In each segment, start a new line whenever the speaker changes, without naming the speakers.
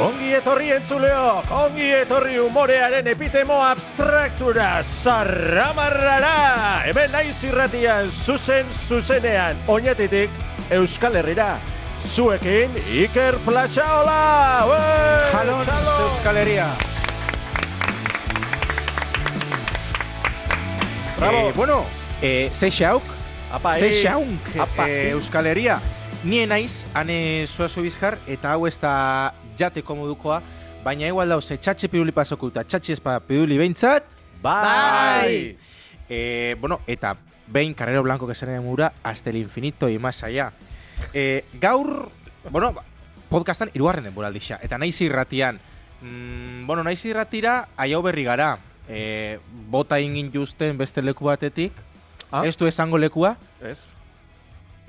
Ongi etorri entzuleok, ongi etorri umorearen epitemo abstraktura, zarramarrara! Hemen naiz irratian, zuzen zuzenean, oinetitik Euskal Herrira. Zuekin, Iker Plaxaola! Ué,
Jalon Euskal Herria.
Bravo.
Eh, bueno, eh, ze xauk,
Apa,
ze
eh,
xaunk,
apa,
eh,
eh.
Euskal Herria. Nien naiz, hane zuazu bizkar, eta hau ez da jateko modukoa, baina igual dauze txatxe piruli pasoko eta txatxe espa piruli behintzat.
Bai!
Eh, bueno, eta behin Carrero Blanco kesaren mura, hasta el infinito y más allá. Eh, gaur, bueno, ba, podcastan irugarren denbora aldixa, eta naiz irratian. Mm, bueno, naiz irratira, aiau berri gara. Eh, bota ingin justen beste leku batetik.
Ah.
Ez du esango lekua,
Ez?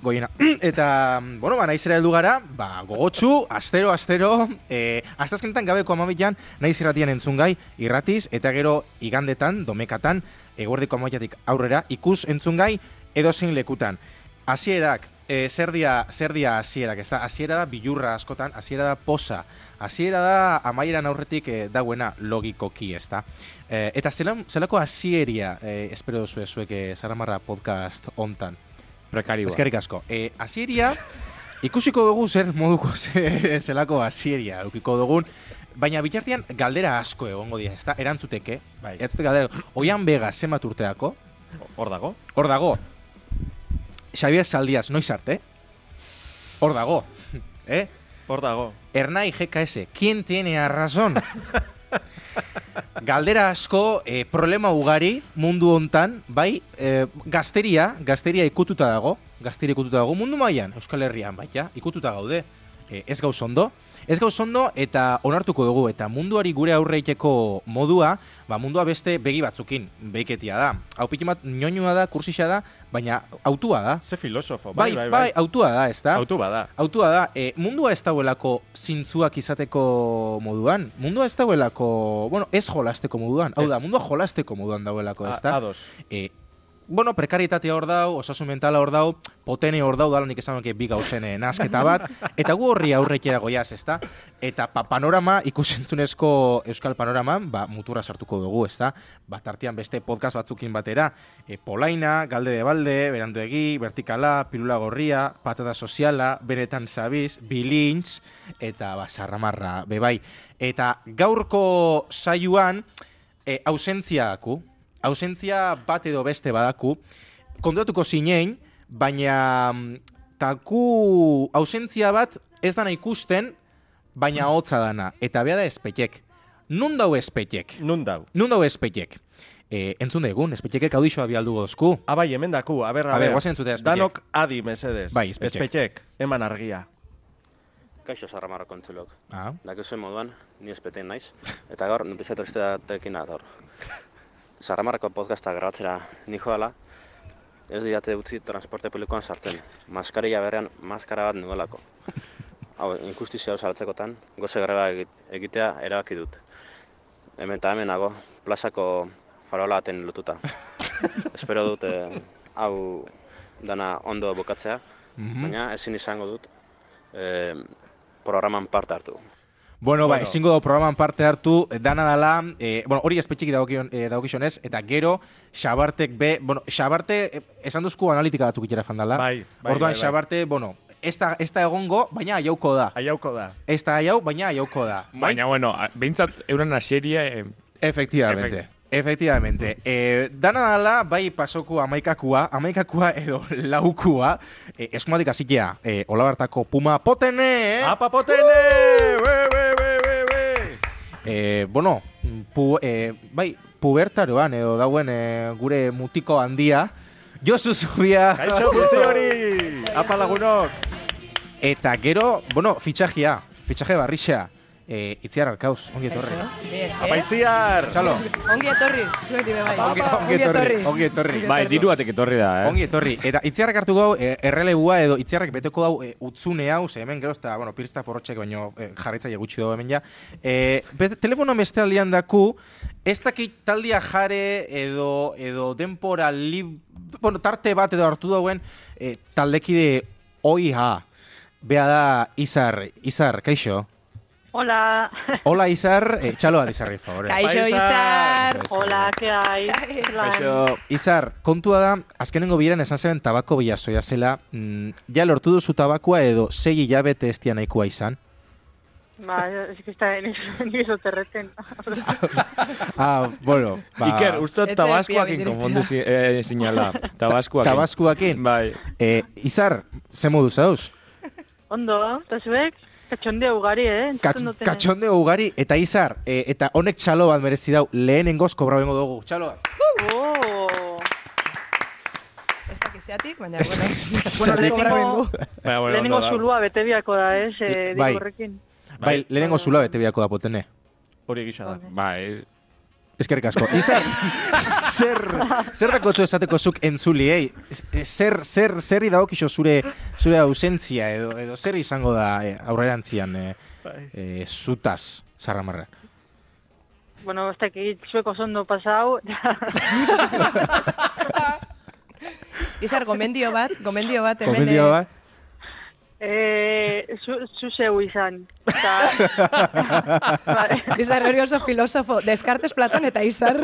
goiena. Eta, bueno, ba, naizera heldu gara, ba, gogotsu, astero, astero, e, astazkenetan gabeko amabilan, naiz irratian entzun gai, irratiz, eta gero igandetan, domekatan, eguerdiko amaiatik aurrera, ikus entzun gai, edozein lekutan. Hasierak, e, zer dia, zer dia hasierak, ez da, hasiera da bilurra askotan, hasiera da posa, hasiera da amaieran aurretik e, dauena logikoki, ez da. E, eta zelan, zelako hasieria e, espero duzu zuek e, Zaramarra podcast hontan?
Prekarioa.
Eskerrik asko. E, asieria, ikusiko dugu zer moduko ze- zelako asieria eukiko dugun, baina bitartean galdera asko egongo dira, ezta? Erantzuteke.
Bai.
Erantzute galdera. Oian bega zenbat urteako?
Hor dago.
Hor dago. Xavier Saldiaz, noiz arte? Hor dago. Eh?
Hor dago.
Ernai GKS, ¿quién tiene a razón? Galdera asko, eh, problema ugari mundu hontan, bai, eh, gazteria, gazteria ikututa dago, gazteria ikututa dago mundu mailan, Euskal Herrian baita, ikututa gaude. Eh, ez gauz ondo, ez gauz ondo eta onartuko dugu eta munduari gure aurreiteko modua, ba mundua beste begi batzukin, beiketia da. Hau piti bat ñoñua da, kursisa da, baina autua da.
Ze filosofo.
Bai, bai, autua da, ez da?
Autu bada.
Autua da, e, mundua ez dauelako zintzuak izateko moduan, mundua ez dauelako, bueno, ez jolasteko moduan, hau da,
Ez.
mundua jolasteko moduan dauelako, ez da?
Ados.
E, bueno, prekarietatea hor dau, osasun mentala hor dau, potene hor dau, dalanik esan nuke bi gauzen eh, nahasketa bat, eta gu horri aurrekera goiaz, ez da? Eta pa, panorama, ikusentzunezko euskal panoraman, ba, mutura sartuko dugu, ez da? Ba, tartean beste podcast batzukin batera, e, polaina, galde de balde, beranduegi, vertikala, pilula gorria, patata soziala, beretan zabiz, bilintz, eta ba, sarramarra, bebai. Eta gaurko saioan, e, ausentzia daku, ausentzia bat edo beste badaku, kontratuko zinein, baina mm, taku ausentzia bat ez dana ikusten, baina hotza dana, eta bea da espetiek. Nun dau espetiek?
Nun dau.
Nun dau espetiek? E, entzun degun, espetiekek audixoa bialdu gozku.
Ah, bai,
Abai, hemen daku. A ber,
A ber, guazen entzutea espetxek.
Danok adi, mesedez.
Bai, espetxek.
Espetxek, eman argia.
Kaixo zarramarra kontzulok.
Ah.
Dakizuen moduan, ni espeten naiz. Eta gaur, notizia tristeatekin dator. Zarramarrako podcasta grabatzera ni joala, ez didate utzi transporte publikoan sartzen. Maskarilla berrean maskara bat nuelako. Hau, injustizia hau salatzekotan, goze greba egi- egitea erabaki dut. Hemen eta hemenago, plazako farola baten lotuta. Espero dut, eh, hau dana ondo bukatzea, baina ezin izango dut eh, programan parte hartu.
Bueno, ba,
Bueno.
ezingo da programan parte hartu, dana dala, eh, bueno, hori espetxik dagokion, eh, dagokionez, eta gero, xabartek be, bueno, xabarte, eh, esan duzku analitika batzuk itxera fandala.
Bai, bai,
Orduan,
bai, bai.
xabarte, bueno, ez da, ez da egongo, baina aiauko da.
Aiauko da.
Ez da aiau, baina aiauko da. Bai?
Baina, bueno, a- behintzat euren aseria eh,
Efectivamente.
Efect-
Efectivamente. Eh, dana dala, bai pasoko amaikakua, amaikakua edo laukua, eh, eskumatik azitea, eh, olabartako puma
Eh?
potene!
Uh!
Apapotene! Ue, ue, ue, ue, ue!
E, bueno, pu, e, bai, pubertaroan edo dauen e, gure mutiko handia, Josu Zubia,
Kaixo guzti hori! Apa lagunok!
eta gero, bueno, fitxajia, fitxaje barrixa, e, itziar arkauz, ongi etorri.
Eh?
Apaitziar!
Txalo,
Ongi etorri, zuek dire bai.
ongi, ongi etorri, ongi etorri.
Bai, diru batek etorri da, eh?
Ongi etorri. Eta itziarrak hartu gau, e, errelegua edo itziarrak beteko dau e, utzune hau, ze hemen gero, eta, bueno, pirista porrotxek baino e, jarritzaile gutxi dago hemen ja. E, bet, telefono beste aldean daku, ez dakit taldia jare edo, edo denpora lib... Bueno, tarte bat edo hartu dauen e, eh, taldekide oiha. Bea da, Izar, Izar, kaixo.
Hola.
Hola, Izar, eh, txaloa dizarri, favore.
Kaixo Izar.
Hola, ¿qué hay? ¿Qué plan?
Izar, kontua da, azkenengo bileran esan zeben tabako bilazoia zela, mm, ja lortu duzu tabakoa edo sei hilabete ez dia nahikoa izan.
Ba, es que está en eso, en eso te reten.
Ah, bueno, ba,
Iker, uste dut
Ez zait
tabaskoakin
piabeterik.
konfondu zi, eh, sinala. Tabaskoakin.
tabaskuakin.
Bai.
Eh, Izar, ze modu zauz?
Ondo, eta zuek? Katxonde ugari, eh?
Ka-
Entzuten duten-
Katxonde ugari, eta Izar, eh, eta honek txalo bat merezi dau, lehenengoz kobra bengo dugu. Txaloa.
Oh.
Ez dakit zeatik, baina, bueno.
Bueno, lehenengo,
Baina, Bai, bueno,
lehenengo
ondo da.
zulua bete biako da, eh? Se,
Bai.
bai. horrekin.
Bai, lehenengo zula bete biako da potene.
Hori egisa da.
Bai.
Eskerrik asko. Izar, zer, zer dakotxo esateko zuk entzuliei? Z- Zer, zer, zer idagokixo zure, zure ausentzia edo, edo zer izango da eh, aurrerantzian eh, eh, zutaz, zarramarra.
Bueno, ez dakit zuek oso ondo pasau.
Izar, gomendio bat, gomendio bat, hemen.
Komendio
eh,
bat?
eh, zu, zu zeu izan. Eta... Bai.
Izar hori oso filosofo, Descartes Platon eta Izar.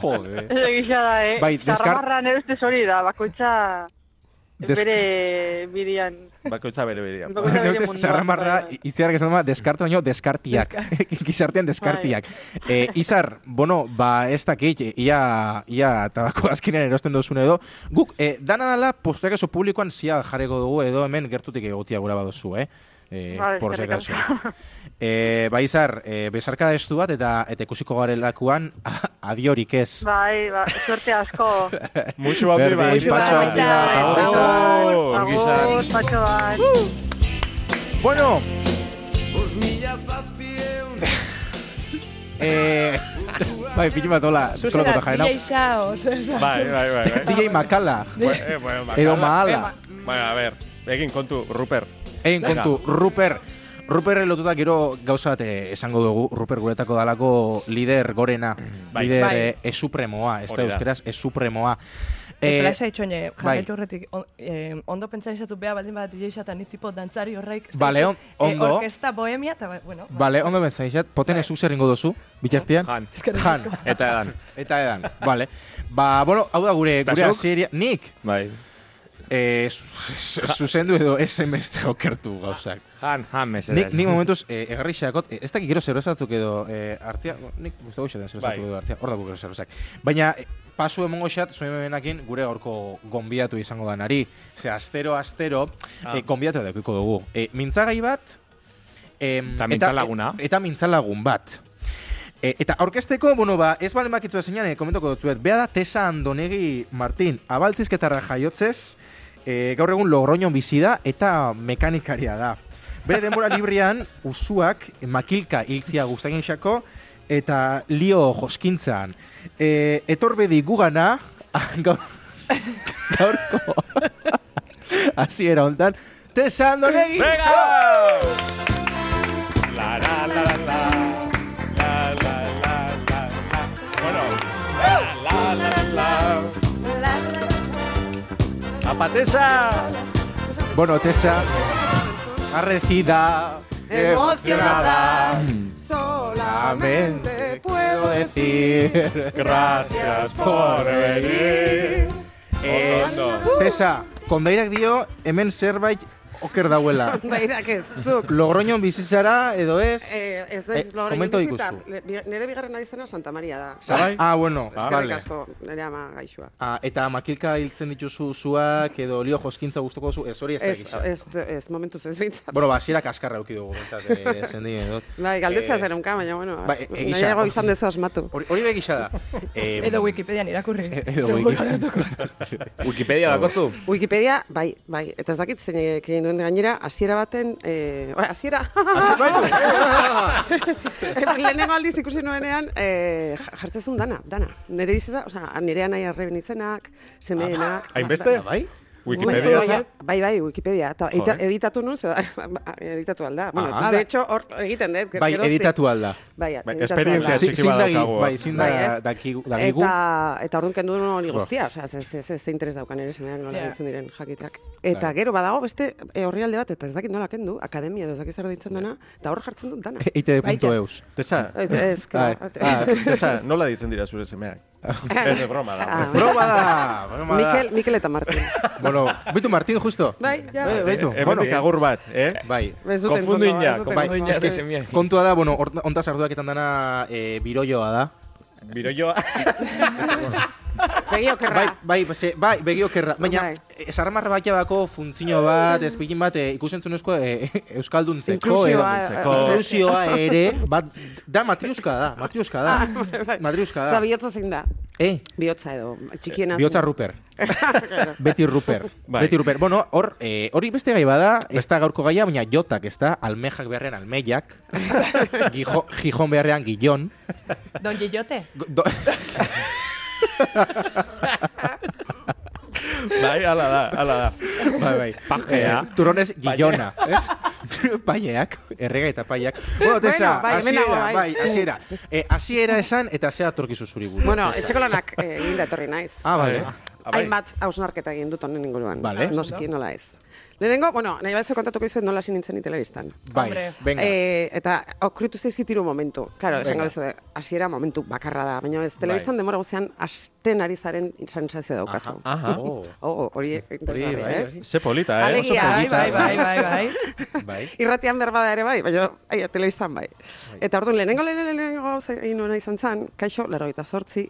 Jo,
Ez egisa da, eh?
Bai, deskar-
Zarramarra nire ustez hori da, bakoitza...
Des-
Bere bidian.
Bakoitza bere berean.
Bakoitza bere
Neutez,
munduan,
zarramarra,
bai, bai.
iziarrak esan dama, deskartu baino, deskartiak. Gizartean deskartiak. Eh, izar, bueno, ba, ez dakit, ia, ia tabako azkenean erosten duzun edo. Guk, eh, dana dala, postak oso publikoan zia jarriko dugu edo hemen gertutik egotia gura baduzu, eh? Eh,
Vale,
por si
eskerrik
acaso.
asko.
Eh, ba, Izar, eh, besarka estu bat eta eta ikusiko garelakoan adiorik ez.
Bai, ba, suerte asko.
Muxu handi
Berdi,
bai.
Patxo,
Patxo.
Izar. Agur,
Izar.
Agur, patxo bat.
Bueno. eh, bai, pilo bat hola, eskolako jaren hau.
DJ Xao,
Ba,
oso-
Bai, bai, bai. bai.
DJ Makala.
Bueno, eh, bueno, ba-
Edo mahala.
Bueno, a ver, egin kontu, Ruper.
Egin
Venga.
kontu, Ruper. Ruper lotuta gero gauza bat eh, esango dugu. Ruper guretako dalako lider gorena.
Bai.
Lider
Bai.
eh, esupremoa. Ez da
Hori da.
euskeraz, esupremoa.
Eh,
Eh,
Plaza itxoine,
bai.
jarretu horretik, on, eh, ondo pentsa izatu beha baldin bat DJ Xata, ni tipo dantzari horreik. ez
Bale,
dakit,
on- ondo.
Eh, orkesta bohemia, eta, bai, bueno.
Bale, ondo bentzen izat, poten ez zer ingo duzu, bitartian?
Jan.
Eskerrik
Jan.
asko.
Eta edan.
Eta edan, bale. Ba, bueno, hau da gure,
Eta
gure
zuk?
aziria. Nik,
Bai.
eh, zu- zu- zuzendu edo SMS te okertu gauzak.
Jan, jan, mesedan.
Nik, nik momentuz, eh, egarri xeakot, eh, ez dakik gero zerbezatzuk edo eh, hartzia, nik guztago xetan zerbezatzuk
Bai.
edo hartzia, hor dago gero zerbezak. Baina, eh, pasu emongo xat, zuen bebenakin gure gaurko gonbidatu izango da nari. Ze, astero, astero, ah. eh, gonbidatu edukiko dugu. Eh, mintzagai bat, em,
Eta mintzalaguna.
e- eta mintzalagun bat. E, eta aurkezteko, bueno, ba, ez balen bakitzu ezinan, e, komentoko dutzuet, bea da Tesa Andonegi Martin, abaltzizketarra jaiotzez, e, gaur egun logroñon bizi da eta mekanikaria da. Bere denbora librian, usuak makilka hiltzia guztain xako, eta lio joskintzan. E, etorbedi gugana, gaur, gaurko, hasiera hontan, Tesa Andonegi!
La, la, la, la, la. La, la, la, la, la. Bueno.
Eh!
La, la, la, la.
Apatesa!
Bueno, Tessa, arrecida, emocionada, solamente eh, puedo decir
Gracias por venir.
Eh, Tessa, kondairak dio hemen zerbait oker dauela.
Bairak Bai, ez, zuk.
Logroñon bizitzara edo ez?
Eh, ez da,
Eh,
ez logro
komento ikuzu.
Nire bigarren izena Santa Maria da.
Zabai?
Ah, bueno,
Eskerrik
vale.
asko, nire ama gaixua.
Ah, eta makilka hiltzen dituzu zuak edo lio joskintza gustuko zu, ez hori ez da
Ez,
gisa.
ez, ez, momentuz ez bintzat.
Bueno, ba, hasierak kaskarra eduki dugu, bentsat, eh, zendi, edo.
Bai, galdetza
Eh,
zeronka, baina, bueno,
bai,
as-
e- egisa.
nahiago izan dezu asmatu.
Hori hori da gisa da. Eh,
Edo Wikipedian irakurri.
Edo
seguro.
Wikipedia.
Wikipedia bakotzu?
Wikipedia, bai, bai, eta ez dakit zein egin duen gainera, hasiera baten, eh, oi, hasiera, Eta lehenengo aldiz ikusi nuenean, eh, ja- jartzezun dana, dana. Nire bizitza, osea, nire anai arreben izenak, semeenak.
Ah, hainbeste?
Bai?
¿eh?
Wikipedia,
Bai, Bai, bai, Wikipedia. Eta
Joder.
edita-
Ah,
editatu nun, zera, editatu alda. Bueno,
Aha.
de hecho, hor egiten dut.
Bai,
geroztik.
editatu alda.
Bai,
Bai,
editatu
esperientzia
alda.
txiki
Zin
badaukagu,
dagi-
hor.
bai, zin
Bai,
da, Ba.
ez?
dakigu- dagigu.
Eta, eta orduan kendu duen hori
Buah.
guztia, osea, ze, ze, ze, ze interes daukan ere semeak nola
Ja.
yeah. diren jakiteak. Eta gero badago beste e, horrialde bat, eta ez dakit nola kendu, akademia edo ez dakit zer deitzen dena, eta hor jartzen dut dana.
EITB.eus. Tesa?
Ez, ez,
Ai,
claro.
ah,
Esa, nola ditzen dira zure semeak? Ez de broma da.
Ah.
Broma da, broma da.
Mikel, Mikel eta Martin.
Bueno, bitu Martin, justo.
Bai, ja.
Bai, bai. baitu.
Hemen
Bueno.
agur bat, eh?
Bai.
Ez dut
Konfundu
entzun,
inak,
ez dut
konfundu
Bai,
entzun.
eske, kontua da, bueno, hor- hontaz arduaketan dana e, biroioa da.
Biroioa.
Begi okerra.
Bai, bai, ze, bai, begiokerra. Baina,
Bai.
esarramar bakia dako funtzio bat, ezpegin bat, e, ikusentzunezko e, e, euskalduntzeko. edo-
Inklusioa,
Inklusioa.
eh, Ah, bai,
Inklusioa ere, bat, da matriuska da, matriuska da. Matriuska
Eta
da.
bihotza zein da.
Eh,
Bihotza edo, txikiena. zein.
bihotza Ruper. Beti Ruper.
Bai.
Beti Ruper. Bueno, hor, eh, hori beste gai bada, ez da gaurko gaia, baina jotak, ez da, almejak beharrean almeiak, gijo, gijon beharrean gillon.
Don Gillote.
Go- do-
Bai, ala da, ala da.
bai, bai.
Pajea.
Eh, turrones gillona, ez? Paieak, errega eta paieak. Bueno, tesa,
bai, hemen
hasiera,
nago, bai.
bai, hasiera. Eh, hasiera esan eta zea atorkizu zuri buruz.
Bueno, etxeko lanak eh, eginda etorri naiz.
Ah, vale.
Ah, bai.
Hainbat hausnarketa egin dut honen inguruan.
Vale.
Noski nola ez. Lehenengo, bueno, nahi bat kontatuko izuet nola hasi nintzen ni telebistan.
Bai,
Hombre.
venga.
Eh, eta okritu zaizkit hiru momentu. Claro,
Venga.
esango
Bai.
duzu, eh, hasiera momentu bakarra da, baina ez telebistan denbora guztian hasten ari zaren sentsazio daukazu.
Aha. Oh,
Oh, hori interesgarria,
bai,
ez?
bai.
Ze polita, eh?
Alegia,
Oso
bai,
polita.
Bai, bai, bai, bai.
bai.
Irratian berbada ere bai, baina aia, telebistan bai. Eta orduan, lehenengo lehenengo lehenengo gauza egin nuena izan zen, kaixo, laro eta zortzi,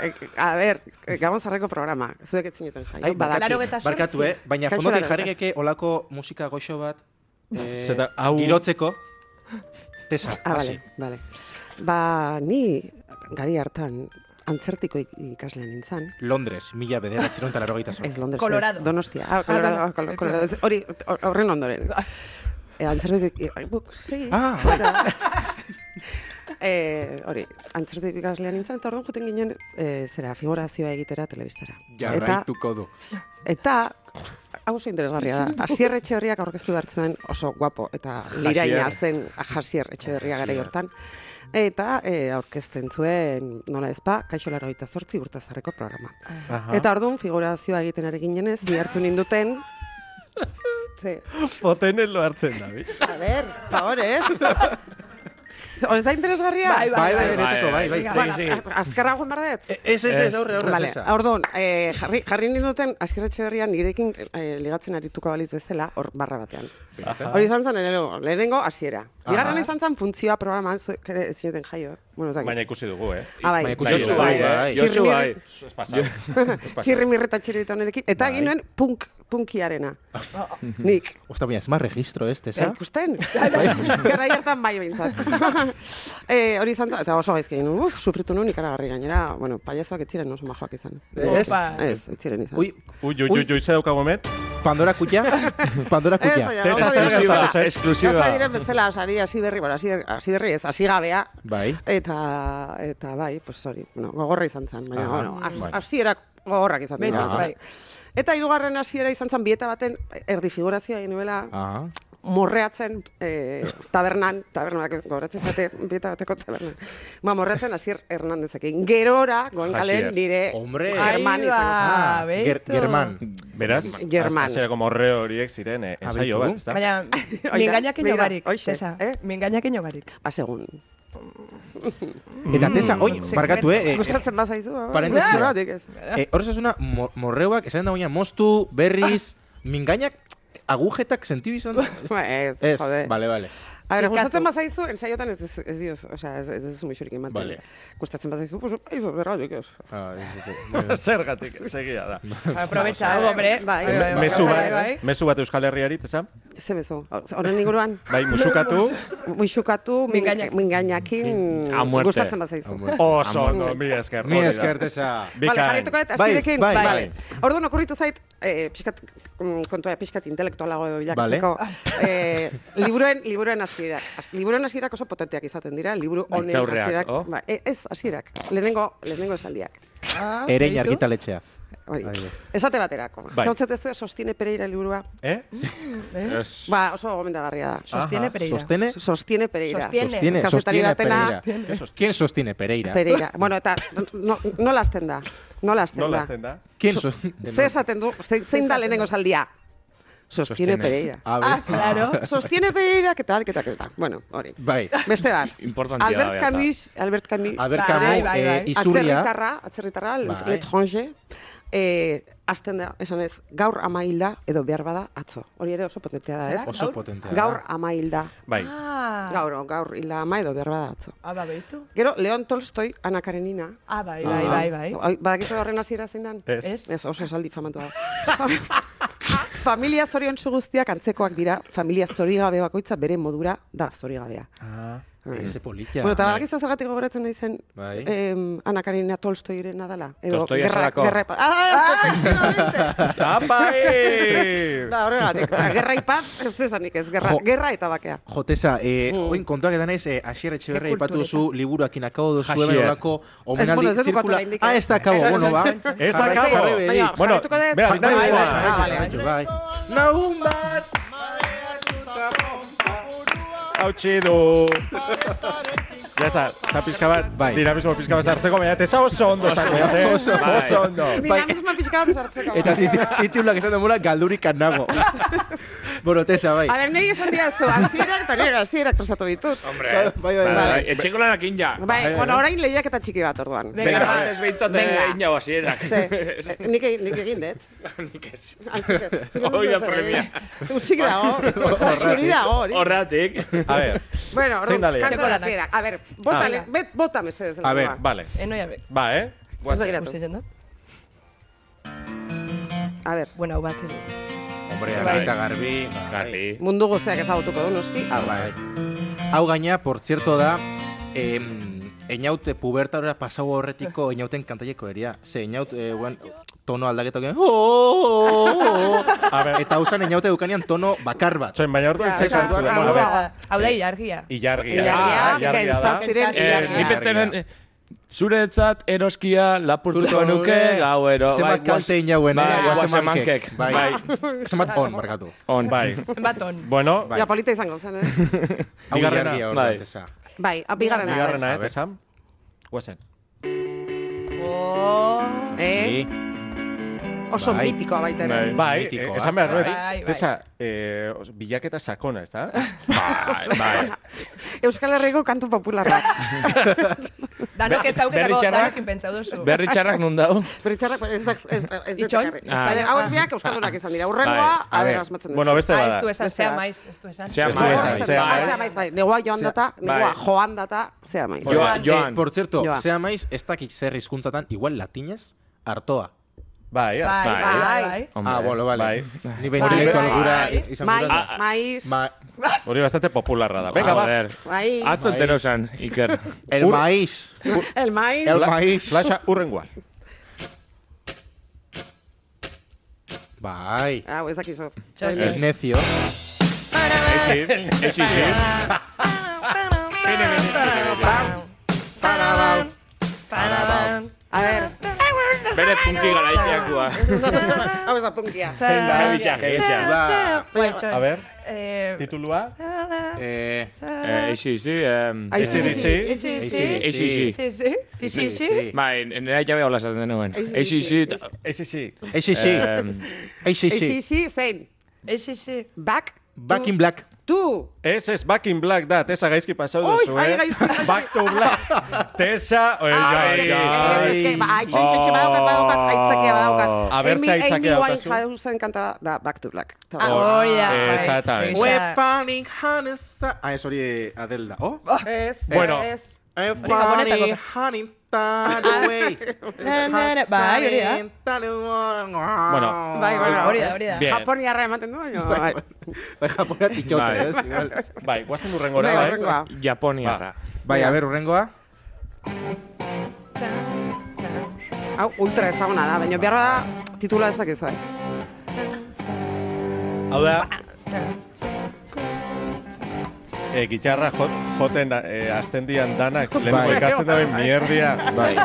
e, e, a ber, e, gamozarreko programa, zuek etzineten jaio, Bai, badakit.
Laro eta
Bai, Barkatu, eh? Baina
Kaixo
fondotik
laro.
jarrikeke olako musika goxo bat eh,
Zeta, hau-
girotzeko. Tesa,
Ah,
hasi.
bale, bale. Ba, ni gari hartan antzertiko ik- ikaslean nintzen.
Londres, mila bederatzen eta laro gaita
Ez Londres,
Colorado.
ez Donostia. Ah, Colorado,
Ah,
Colo-
Colorado.
Colorado. Ez, Hori, hor- horren ondoren. E, antzertiko... ik- buk, Segi.
Ah,
Eh, hori, antzertiko ikaslean nintzen, eta orduan joten ginen, eh, zera, figurazioa egitera telebistara.
Jarraituko du.
Eta, hau oso interesgarria da. Asier Etxeberriak aurkeztu behar zuen oso guapo eta liraina zen Asier Etxeberria gara hortan. Eta e, aurkezten zuen, nola ez ba, kaixo laro eta zortzi urtazareko programa. Eta orduan figurazioa egiten ari ginenez, bihartu ninduten, Ze,
Potenelo hartzen da, bi.
a ber, favorez. Hor ez da interesgarria?
Bai, bai,
Bai, bai,
bai.
benetako, bai, bai.
Venga,
Segi, segi.
Azkarra joan behar dut?
Ez, ez, ez, aurre, aurre.
Vale,
tesa.
orduan, eh, jarri, jarri ninduten, azkerretxe berrian nirekin eh, ligatzen arituko baliz bezala, hor barra batean. Hori izan zen, lehenengo, lehenengo hasiera. Bigarren izan zen funtzioa programan, zuek ere ez zineten jaio. eh? Bueno, ez dakit.
Baina ikusi dugu, eh?
Ah, bai.
Baina ikusi
Josu
dugu,
bai,
bai.
eh?
Josu bai.
Zu ez pasau. Ez pasau.
Txirrimirri eta txirrita honerekin. Eta egin nuen punk, punkiarena. Nik.
Osta, baina, ez ma registro ez,
Ja,
tesa?
ikusten? Gara hartan bai behintzat. eh, hori izan zen, eta oso gaizki egin. nuen. Uf, sufritu nuen ikaragarri gainera. Bueno, payasoak ez ziren oso majoak izan.
Ez?
Opa.
Ez, ez ziren izan.
Ui,
Ui, ui, ui, ui, ze daukagu hemen?
Pandora kutxa? Pandora
Ez,
kutxa.
Eh, baina
Test
oso gaizki
exclusiva,
gertatu zen.
exclusiva.
Gauza diren bezala, sari hasi berri, bueno, hasi hasi berri ez, hasi gabea.
Bai.
Eta, eta bai, pues hori, bueno, gogorra izan zen, baina,
Aha. bai.
bueno, has-
Bueno.
hasierak gogorrak izan
Beti,
dira.
bai.
Eta hirugarren hasiera izan zen bieta baten erdi figurazioa egin nuela
Ah.
Aha.
morreatzen eh, tabernan, tabernak goratzen zate, bieta bateko tabernan. Ba, morreatzen Asier Hernandezekin. Gerora, goenkalen
Asier.
nire
Hombre.
German
Ahí
izan zen.
Ah,
Ah,
beitu.
ger- German.
Beraz,
German.
German. como morreo horiek ziren,
Ah,
eh, ensaio bat, ez da?
Baina, mingainak
Beira,
inogarik,
hoxe,
Tesa.
eh?
Mingainak inogarik.
Ba, segun. Mm,
Eta tesa, oi, barkatu, eh? eh,
Gustatzen bazaizu. ba,
Parentesi bat.
zergatik ez.
eh, Hor esasuna, mo- morreuak, esan da baina, mostu, berriz,
Ah.
mingainak, agujetak sentidu izan da?
Ba, Ez,
Ez,
jode.
bale, bale.
A ber,
Zikatu.
gustatzen bazaizu, ensaiotan ez dizu, ez diozu, osea, ez, ez dizu musurik ematen.
Vale.
Gustatzen bazaizu, pues, aizu, berratik ez.
Ah, ez dut- bueno.
Zergatik, segia da.
Aprovecha, hombre.
Bai,
Bai, bai,
Mezu
bai,
bat,
bai.
mezu bat Euskal Herriari, tesa?
Ze mezu, horren inguruan,
Bai, musukatu.
muixukatu, min-
Mingainak.
mingainakin,
A muerte.
gustatzen bazaizu.
bai. Amor.
Oso, no, mi esker.
Mi
hori da.
esker, tesa.
Bale,
Bikain.
jarrituko eta
Bai,
asirekin.
bai,
bai.
Orduan okurritu zait, eh, pixkat, mm, kontua pixkat intelektualago edo bilatzeko. Eh, liburuen, liburuen hasierak. Az- liburuen hasierak oso potenteak izaten dira, liburu honen
Hitzaurreak,
hasierak.
oh.
Ba, e- ez hasierak, lehenengo, lehenengo esaldiak.
Ah,
Erein
beitu.
argitaletxea.
Hori.
Bai, bai.
Esate baterako.
Bai.
Zautzat ez du Sostiene Pereira liburua.
Eh?
Eh?
Ez-
Ba, oso gomendagarria da.
Sostiene
Aha,
Pereira.
Sostiene,
Sostiene Pereira.
Sostiene.
sostiene,
Kazetari
sostiene
batena-
Pereira. ¿Quién sostiene Pereira?
Pereira. Bueno, eta no, nola hasten da? Nola hasten
Nola
da?
hasten da?
¿Quién so-
Ze esaten du? Zein, zein da lehenengo esaldia? Sostiene Pereira.
A ver.
Ah, claro.
Sostiene Pereira, que tal, que tal, que tal. Bueno, hori.
Bai.
Beste bat.
Importantia da,
Albert
beata.
Camus, Albert Camus.
A ver,
Bai,
Camus,
bai,
eh,
bai.
Izurria.
Atzerritarra, atzerritarra,
Bai.
l'étranger, eh, hasten da, esan ez, gaur ama hilda edo behar bada atzo. Hori ere oso potentea da, ez?
Oso potentea. da.
¿eh? Gaur ama hilda.
Bai.
Ah,
Gaur, gaur hilda ama edo behar bada atzo.
Ah, ba, behitu.
Gero, Leon Tolstoi, Ana Karenina.
Ah, bai, bai, bai, bai.
Bai. Badakizu horren hasiera zein den?
Ez.
Ez.
Ez, oso esaldi famatua da. familia zorion guztiak antzekoak dira, familia zorigabe bakoitza bere modura da zorigabea.
Ah,
Bai.
ese eh, polilla.
Bueno, eta badakizu zergatik gogoratzen nahi zen
Bai.
em, Ana Karenina Tolstoiren adala.
Tolstoi esalako.
gerra ipa- Ah, efectivamente!
Apa, eh!
da, horregatik. da, Gerra ipaz, ez esanik ez, gerra,
Jo.
gerra eta bakea.
Jotesa, eh,
Mm.
oin kontuak edan ez, eh, Asier Etxeberri
Ke
aipatu
kultureta.
duzu liburuakin akabo duzu,
Asier.
hemen horako
bueno,
omenaldi
ez dut bukatu
zirkula.
oraindik, eh.
Ah, ez da akabo, bueno, ba.
Ez da
Jarraitu,
kabo.
jarri,
Baina,
Bueno,
jarraituko dut.
bea,
Bai, bai,
dinamikoa.
bai, bale.
Jarraitu, bai. Nagun bat!
Hautsi du. Ya está, está pizka bat,
Bai.
dinamismo pizka bat sartzeko, baina tesa oso ondo sartu, eh?
oso.
Oso ondo.
Dinamismo pixka bat sartzeko.
Eta tit- titulak esan demora galdurik nago. bueno, Tesa, bai.
A ber, nahi esan dira zu, hasierak eta nire hasierak prestatu ditut.
Hombre,
Bai, bai, bai.
etxeko lanak inja.
Bai, bueno, orain lehiak eta txiki bat orduan.
Venga,
Venga,
va.
ez behintzat
eh,
Venga.
inja basierak.
Ze, eh, nik, egin- nik egin dut.
Nik ez.
Antzik- zuk ez
Hoi da
duzu zer
premia.
egin. Utzik dago, zuri dago hori.
Horratik.
A ver,
Bueno,
Zein da
orduan,
lehia?
kanta hasiera. A ber, bota, le- bet, bota mesedez.
a ver,
helburua.
vale.
Enoia be.
Ba, eh?
Oso geratu.
Uste jendan?
A ber,
Bueno, hau bat. edo.
Hombre,
Bai.
eta garbi. bai.
Garbi.
mundu guztiak ezagutuko du, noski.
Ah, bai. Hau gaina, por cierto, da, em, einaute pubertarora pasau horretiko einauten kantaileko eria. Ze einaut, eh, guan, tono aldaketak egin, "Oh, oh, oh, oh".
A ver,
Eta usan einaute dukanean tono bakar bat.
soin baina orduan
Ja,
sexu
eta-
hartu da.
Ah,
Bueno, a ver,
hau da-
Hau da ilargia.
Ilargia.
Ilargia,
Ah, ilargia da.
gen zazpiren
Eh,
Ez,
ilargia.
ni pentsatzen, eh, zuretzat eroskia lapurtuko
Lapurtuko
nuke
nuke.
gauero.
Zenbat
guaz-
kalte inauen, eh,
bai,
guazen
guazen
mankek.
mankek.
Bai.
Bai.
Zenbat on, barkatu.
On.
Bai.
Baton.
Bueno,
Ja, polita izango zen, eh?
Hau
Bigarrena,
ilargia hor
bai.
dantesa.
Bai, a, bigarrena. a ber.
bigarrena,
A
eh,
ver.
tesam? Guazen.
Oh.
Eh,
Sí.
oso
Bai.
mitikoa baita ere.
Bai.
Bai,
Mitikoa.
eh, esan behar nuen,
Bai, bai.
tesa, eh, os- bilaketa sakona, ez da?
Bai, bai.
Euskal Herriko kantu popularrak.
Danok ezauketako,
Berritxarrak-
danok inpentsau duzu.
Berri txarrak nun dau?
Berritxarrak, ez da, ez da, ez da,
Itxoin?
ekarri.
Ah.
A ber, Hauek biak euskaldunak izan dira. Urrengoa,
Bai,
a
A
ber,
ver,
asmatzen duzu.
Bueno, beste
Ah, ez
bada.
du esan,
Beste
zea
bat.
maiz, ez du esan.
Zea
Ez du
maiz.
esan,
Zea maiz.
Zea maiz, bai. Negoa joan data, negoa
Bai.
joan data, zea maiz.
Jo- Joan,
Eh,
Joan.
por cierto,
Joan.
zea maiz, ez dakik zer hizkuntzatan, igual latinez, hartoa.
Bai,
Bai,
bai.
bai,
Bai.
bai.
Ah, bueno, vale.
Bai.
Ni
Bai,
behin
bai,
logura
bai.
izan
Maiz,
dudana.
maiz,
Ma-
Hori bastante popularra da. Venga,
Venga,
va.
joder.
maiz.
Azte entero esan, Iker.
el
Ur-
maíz.
El maiz.
El
Fla-
maíz.
Flasha urrengoa.
Bai.
Hau, ez dakizu.
Txos,
Eh,
txos.
El necio.
Esi, esi, esi.
Parabau. Parabau.
A ber,
Bere punki garaiteakua.
hau ez da punkia.
Zein
da? Kebisa, kebisa.
A
Ba.
ver, titulua.
Eh,
Eh, Esi, esi, em...
Esi, esi.
Esi, esi.
sí, sí.
Bai, nera jabe hola esaten denuen.
Esi,
Esi,
esi,
esi.
esi.
Eh, sí, sí.
Eh, sí, sí. Eh, sí, sí.
Ezi, zi, zein. Back.
Back
to-
in black.
Tu.
Ez, ez, Back in Black da, Tessa gaizki pasau
Oi,
duzu,
ai,
eh?
gaizki, gaizki.
Back to Black. eh, Tessa, oi,
Ah,
ai,
ez que-
ai.
ez que, ba, aitxe, aitxe, badaukat, badaukat, aitzakia badaukat.
A ber, ze
Amy-
aitzakia
Amy
daukazu.
Winehousen kanta da Back to Black. Eta bai.
Hori da.
Ah,
bai.
exactamente.
Hori da.
Finding honest- Ah, ez hori eh, Adelda. Oh.
Ez,
Bueno.
ez, ez.
I'm
Gabonetako.
finding honey down the way.
Na, na, na. Bai, hori da.
Honey down the way.
Bueno.
Bai, bueno.
Hori da, hori da.
Bien.
Japoniarra ematen du, baina. bai.
Bai, japonetik joaten,
Bai.
ez? Igual.
Bai, guazen
Bai,
urrengora,
urrengoa.
bai.
eh? Japoniarra.
Bai, a ber, hurrengoa.
Hau ultra ezaguna da, baina behar da titula ez dakizu, eh?
Hau da, eh, gitarra jot, joten eh, azten dian danak, lehenko
Bai.
ikasten duen mierdia.
Bai.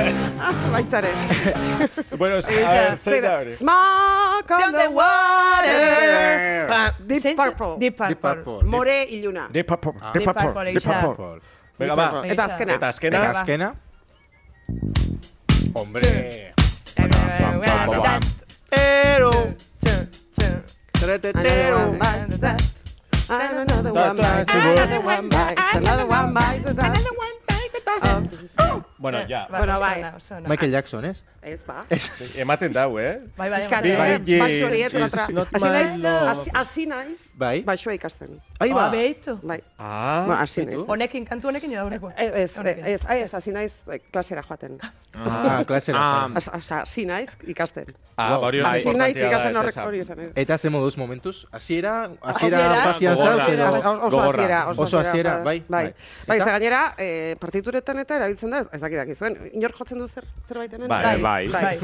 Ah, Baitaren.
Bueno, a ver, zein da hori?
Smoke on the water. Pa, Deep
Zeintzu-
Purple.
Deep
Deep Purple.
Purple.
More iluna.
Deep Purple,
Ah.
Deep
Deep
Purple,
Purple,
Deep
egia da.
Purple. Venga, va.
Eta azkena.
Eta azkena.
Eta azkena. Hombre. ba.
Dust.
Ero.
Tun, tun,
Another one
Tretetero.
bites the dust. ba- Another one bites
Another
another one bites another one bites the dust. Oh,
Bueno, ya.
Ba,
Bueno,
oso
bai.
ona, oso ona.
Michael Jackson, ez?
Ez ba.
Ematen dau, eh?
Bai, bai,
Piskat,
bai, bai.
eh,
Bai,
baso hori
it's
etoratra.
not
Hasi
my
naiz-
love.
hasi- Hasi naiz,
Bai.
basoa ikasten.
Ahí
Ba,
va.
behitu.
Bai.
Ah.
Bueno, hasi naiz.
Honekin, kantu honekin jo aurrekoa.
Eh, Ez,
Honekin.
eh, ez, ah, ez, hasi naiz eh, klasera joaten.
Ah, klasera.
Ah.
As- as- Hasi naiz ikasten.
Ah, ba, hori oso
Hasi naiz
importantea da,
ikasten
ez
horrek
esan.
hori esan.
Eta ze moduz momentuz, hasiera, hasiera
Hasiera,
fasian zauz,
gogorra,
edo-
gogorra.
Oso oso
Gogorra.
hasiera,
Oso hasiera,
bai.
bai,
Bai,
bai.
bai
Eta-
ze gainera, eh, partituretan eta erabiltzen da, ez- ez dakit dakizuen, inork jotzen du zer, zerbait hemen?
Bai,
Bai, bai.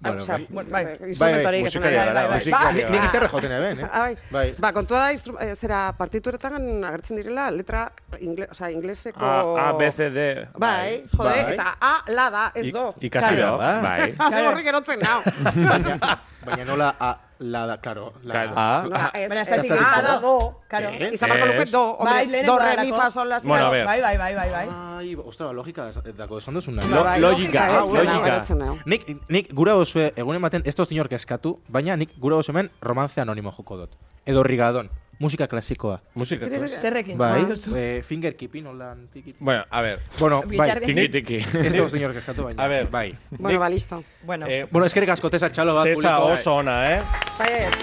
Bueno,
Osea,
bai.
Bueno, bai.
instrumentuarik esan
musikaria
nahi.
gara,
bai, bai.
musikaria
Ba,
Ni-
gara.
Ni gitarra joten eben, eh?
Ah, bai.
Bai.
Ba, kontua da, instru- eh, zera, partituretan agertzen direla letra ingle, o sea, ingleseko...
A, A, B, C, D.
Bai, jode,
Bai.
eta A, la da, ez do.
Ik- Ikasi da,
Claro,
ba?
Bai.
Ah, de horrek erotzen nao.
Baina, baina nola a, la da, claro. La,
Claro.
Ah.
Nola, Ba, ez,
Baina,
ez,
zergatik
A
badago.
da, do.
Karo.
Izan barko Eh, luke do,
Bai,
hombre,
lehenengo
do, re, mi,
delako.
fa, sol, la, si,
Bueno,
la,
a
do.
ver.
Bai, bai, bai, bai, bai.
Ai, ostra, logika ez- dako esan duzu
Lo-
Bai,
logika,
eh, bueno,
logika.
erotzen nao.
Nik, nik gura oso egun ematen ez toz inork eskatu, baina nik gura oso hemen romance anonimo joko dut. Edo rigadon, musika klasikoa.
Musika. klasikoa.
Zerrekin.
Bai,
Ba, duzu.
eh, fingerkeeping, holan tiki.
Bueno, a ver.
Bueno,
Bitarrekin.
bai,
Tiki, tiki.
ez toz inork eskatu baina.
A ver.
Bai.
Bueno, ba, listo.
Bueno,
Eh,
Bueno, eskerrik asko, tesa txalo bat.
Tesa
publiko.
oso ona, eh?
Bai, ez.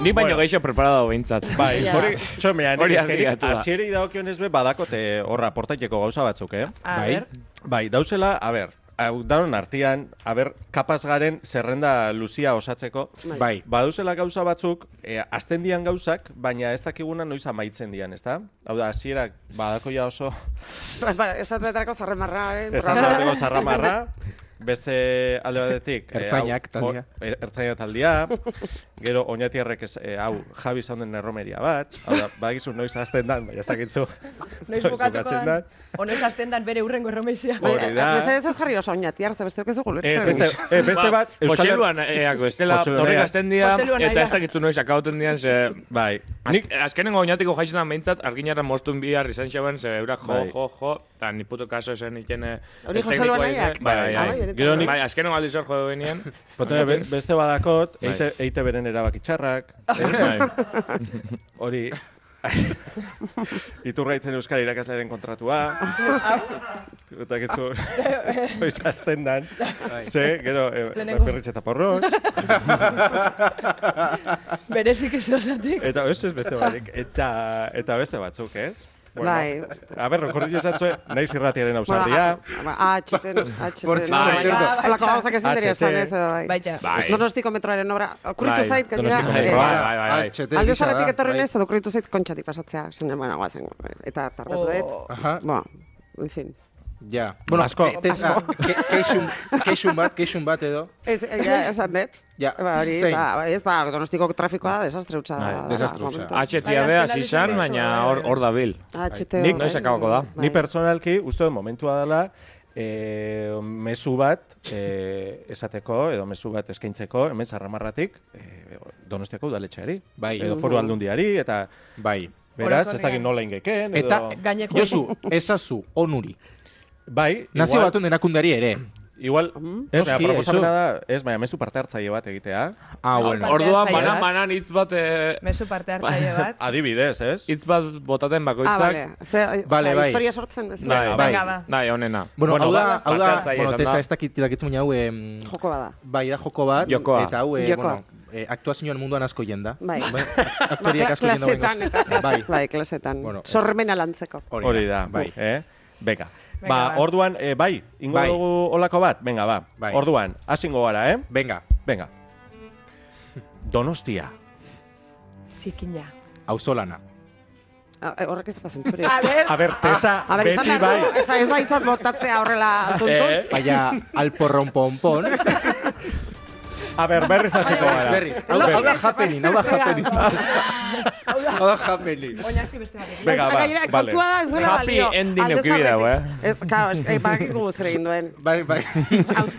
Ni baino
Bueno.
geixo preparado behintzat.
Bai, hori, txomea,
Hori
nik eskerik
argiatu da.
asierei daokionez be badakote horra portaiteko gauza batzuk, eh?
a
bai.
ver.
Bai, dauzela, a ber, hau danon artian, a ber, kapaz garen zerrenda luzia osatzeko,
Bai.
Baduzela gauza batzuk, e, azten dian gauzak, baina ez dakiguna noiz amaitzen dian, ezta? Hau da, hasierak badako ja oso
Ba, ba, esatetarako zarremarraren
esan
eh, programa.
bateko zarramarra, beste alde batetik... e,
Ertzainak
hau,
taldea.
o- e, ertzainak taldea, gero oñatiarrek ez, e, hau, Javi izan den erromeria bat, hau da, badakizu noiz azten dan, baina ez dakitzu
Noiz bukatuko
bukatzen
dan. ¿eh? O noiz hasten dan bere urrengo erromexia.
Bai. hori da.
Mesedez ez jarri oso oinati hartze, beste ez dugu
Ez,
lertzen.
beste, eh,
Ba,
beste bat,
Euskal
Euskal Her-
Herrian eako Ba, estela
Joselu
horrek
Nea.
hasten dira
Joselu Nea.
eta ez dakitzu noiz akauten dian ze
Bai,
Nik...
nik...
Azkenengo oinatiko jaizena behintzat, arginarra moztun bihar izan xaben, ze eurak jo,
Bai.
jo, jo, eta ni puto kaso esen ikene...
Hori
ez
Joselu
teknikoa
Anaiak?
izan- Bai,
Ah,
bai,
bai,
bai.
benetan.
Gero nik... Bai, azkenengo aldiz hor jo benien.
Botere, be- beste badakot, eite, eite beren erabakitxarrak,
Bai,
hori... Iturgaitzen Euskal irakaslearen kontratua. Eta gizu, oiz azten dan. Ze, gero, eh,
Lehenengo.
perritxe eta porroz.
Berezik ez osatik.
Eta ez ez beste barik. Eta, eta beste batzuk, ez?
Bai.
A ber, rekordi esatzue, naiz irratiaren ausardia.
Ba, ah, atxeten, atxeten.
Por cierto,
Bai,
por cierto.
ba, Holako gauzak ezin dira
HT.
esan ez, edo bai.
Baita.
Bai.
Donostiko metroaren obra,
Bai,
okurritu zait, gainera.
Donostiko
eh,
metroa.
bai, bai, bai.
Ah, txete
Alde
gisa da,
zaratik etorri
bai.
nez, eta okurritu zait kontxatik pasatzea, zen emana guazen. Eta tardatu dut.
O-
Aha,
Ba, en fin.
ja. Bueno,
Asko.
eh, Tesa, ke- keixun, keixun bat, keixun bat edo.
Ez, eh, ja, esan dut.
Ja,
Ba, hori,
zein?
ba, ba, ez, ba, donostiko trafikoa da, desastre hutsa da.
Bai, desastre hutsa.
Ah,
momentu.
Atxetia
Bai,
be,
azken
hasi izan,
aldiz
baina
bai,
hor,
bai.
hor dabil.
HT.
Nik-
bai.
noiz akabako da.
Ni pertsonalki, uste dut momentua dela, e, mezu bat e, esateko, edo mezu bat eskaintzeko, hemen zarramarratik, e, donostiako udaletxeari.
Bai.
Edo foru aldundiari, eta
Bai.
beraz, ez
Orokorrean.
dakit nola ingeken, edo...
Eta,
Gaineko.
Josu, ezazu, onuri.
bai,
Nazio batun denakundari ere.
igual, ez, baina
Noski,
proposamena
eso.
da, ez, baina mezu parte hartzaile bat egitea.
Ah, bueno.
Orduan,
hartzaile
banan,
bat.
banan, hitz bat, eh,
Mesu parte hartzaile
Ah.
bat.
Adibidez, ez?
hitz bat botaten
Ah,
bakoitzak.
bale. Ze, o sea,
Vale, bai.
historia sortzen Ah, bezala.
Bai, bai,
Venga, ba.
bai, honena.
Bueno, hau da,
ba,
hau da,
parte hartzaile
bueno,
izan
tesa ez dakit dakit baina hau, em,
Joko bada.
bai da joko bat,
Jokoa.
eta hau, eh,
Jokoa.
bueno, eh, aktuazioan munduan asko jenda.
Bai.
Aktoriak
Ba,
asko jenda
klasetan, eta
oraingoz. Bai,
bai, klasetan.
Bueno, ez.
Sormena lantzeko.
Hori da,
bai.
Eh? Beka.
Venga,
Ba,
ba.
orduan, eh, bai, ingo
Bai.
dugu olako bat? Venga, ba.
Bai.
Orduan, hasingo gara, eh?
Venga,
Venga. Donostia.
Zikina.
auzolana.
Ah, eh, Horrek ez da zentzuri.
A ver.
A ber, Tesa,
Ah, A ver, izan
beti
da,
bai.
ez da- ez da
Eh,
hitzat botatzea horrela tuntun.
Baina, alporron ponpon.
A ber, berriz hasiko
bai.
Berriz,
gara.
berriz. Hau da- hau da happening, hau da happening. Hau da happening.
Oinaski beste batekin.
Venga, ba,
Gainera,
vale.
kontua da ez duela
Happy
balio.
ending
Aldez
eduki dau,
aurretik- Ez, claro, es que badakigu zer egin duen.
Bai, bai.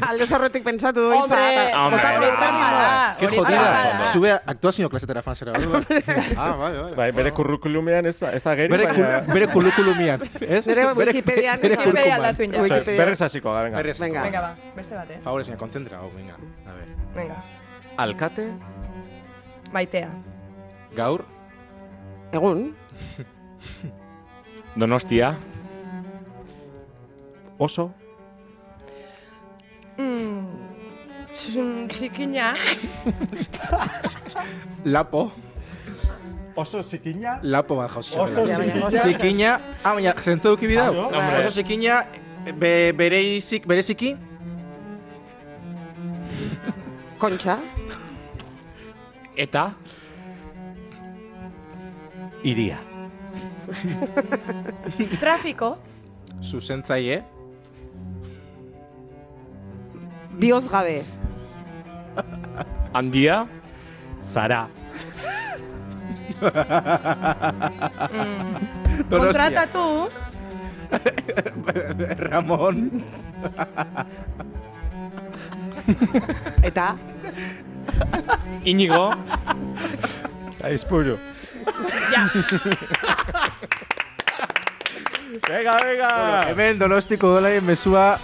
Aldez aurretik pentsatu du hitza.
Hombre,
eta-
Hombre,
eta hori
da.
berdin da.
Ke
Hori
Bai,
bada,
jodida.
bada.
Zube aktuazio klasetara fan zera. orduan. Ah, bai, bai.
Bai, bere curriculumean ez da, ez da geri,
Bere, kul,
baina...
bere kulukulumian, ez?
Bere Wikipedian-
curriculum.
Wikipedia aldatu ina.
Ose,
Wikipedia.
Berriz hasiko gara, venga.
Berriz.
Venga.
Venga, ba, beste bate.
Favore, señor, concentra. hau, venga. A ver.
Venga.
Alkate,
Maitea.
Gaur,
Egun,
Donostia,
oso,
Mm, txun, Txikina.
lapo,
oso zikina,
lapo bat jauzi.
oso
Ja, baina-
zikina,
Zikina, ah, baina, zentu duki bidau.
Ah, no?
Oso zikina, be, bere izik, bere ziki,
kontxa,
eta
iria.
Trafiko.
zuzentzaile,
bioz gabe,
handia,
Zara,
Donostia,
Kontratatu.
Ramon,
eta
inigo,
aizpuru. Venga, venga!
hemen donostiko dolain mesua,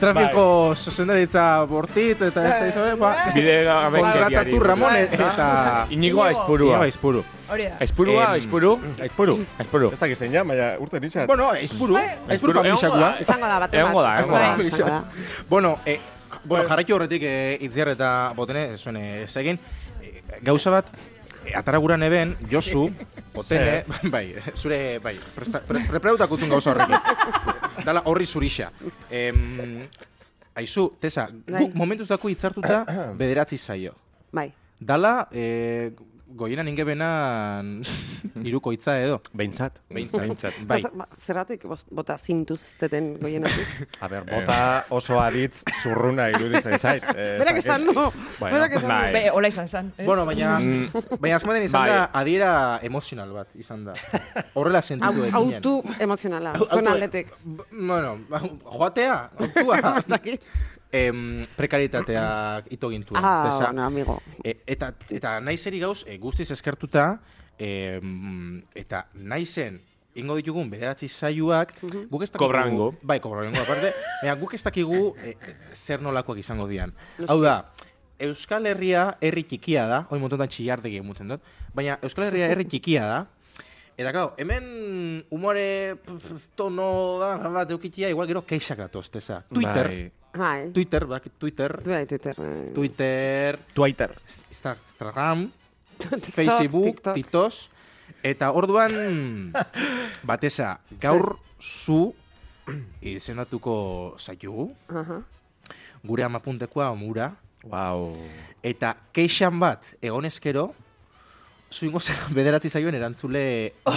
trafiko zuzendaritza bortit, eta ez da izan, ba,
bide gabenkeriari.
kontratatu Ramon,
Bai.
eta...
Inigo aizpurua.
Inigo aizpuru.
Hori da.
Aizpurua,
Em, mm,
aizpuru,
Aizpuru.
aizpuru.
Ez dakit zein ja, baina urte nitxat.
Bueno, aizpuru, aizpuru familixakua.
izango da bat.
Egongo da,
izango
egongo da.
izango da.
Bai, Bueno, e, bueno jarraitu horretik e, itziar eta botene, zuen eh, ez egin, e, gauza bat, e, atara guran eben, Josu, botene, bai, zure, bai, presta- pre, preparatutak utzun gauza horrekin. Dala horri zurixa. Em, aizu, Tesa,
Bai.
guk momentuz dako hitzartuta bederatzi zaio.
Bai.
Dala, e, goienan ingebenan iruko hitza edo.
Beintzat.
Behintzat. Bai.
Ba- Zerratik bost- bota zintuzteten goienetik.
A ber, bota oso aditz zurruna iruditzen zait. Eh, ez
Berak
dakit.
esan du,
Bueno,
berak esan du.
bai.
Be, hola izan zan. ez?
Bueno, baina,
Mm.
baina azkumaten izan
Bai.
da, adiera emozional bat izan da. Horrela
Au-
sentitu egin.
Autu emozionala, zuen aldetik.
Bueno, au- joatea, autua. em, prekaritatea ito gintuen.
Ah,
Tesa.
bueno, amigo.
E, eta, eta nahi zeri gauz, e, guztiz eskertuta, em, eta nahi zen, ingo ditugun bederatzi zaiuak, guk ez dakigu-
Kobrango.
Bai, kobrango aparte, baina guk ez dakigu e, e, zer nolakoak izango dian. Hau da, Euskal Herria herri txikia da, hoi montotan txillardegi emuten dut, baina Euskal Herria herri txikia da, Eta, claro, hemen humore pf, pf, tono da, bat eukitia, igual gero keixak datoz, tesa. Twitter,
Bai.
Bai.
Twitter, bak- Twitter,
Bai, Twitter. eh.
Twitter,
Twitter.
Instagram, Facebook,
TikTok.
TikTok, eta orduan, batesa, gaur zu izendatuko zaitugu,
Aha.
gure amapuntekoa mura,
Wow.
eta keixan bat egonezkero, zuingo zera bederatzi zaioen erantzule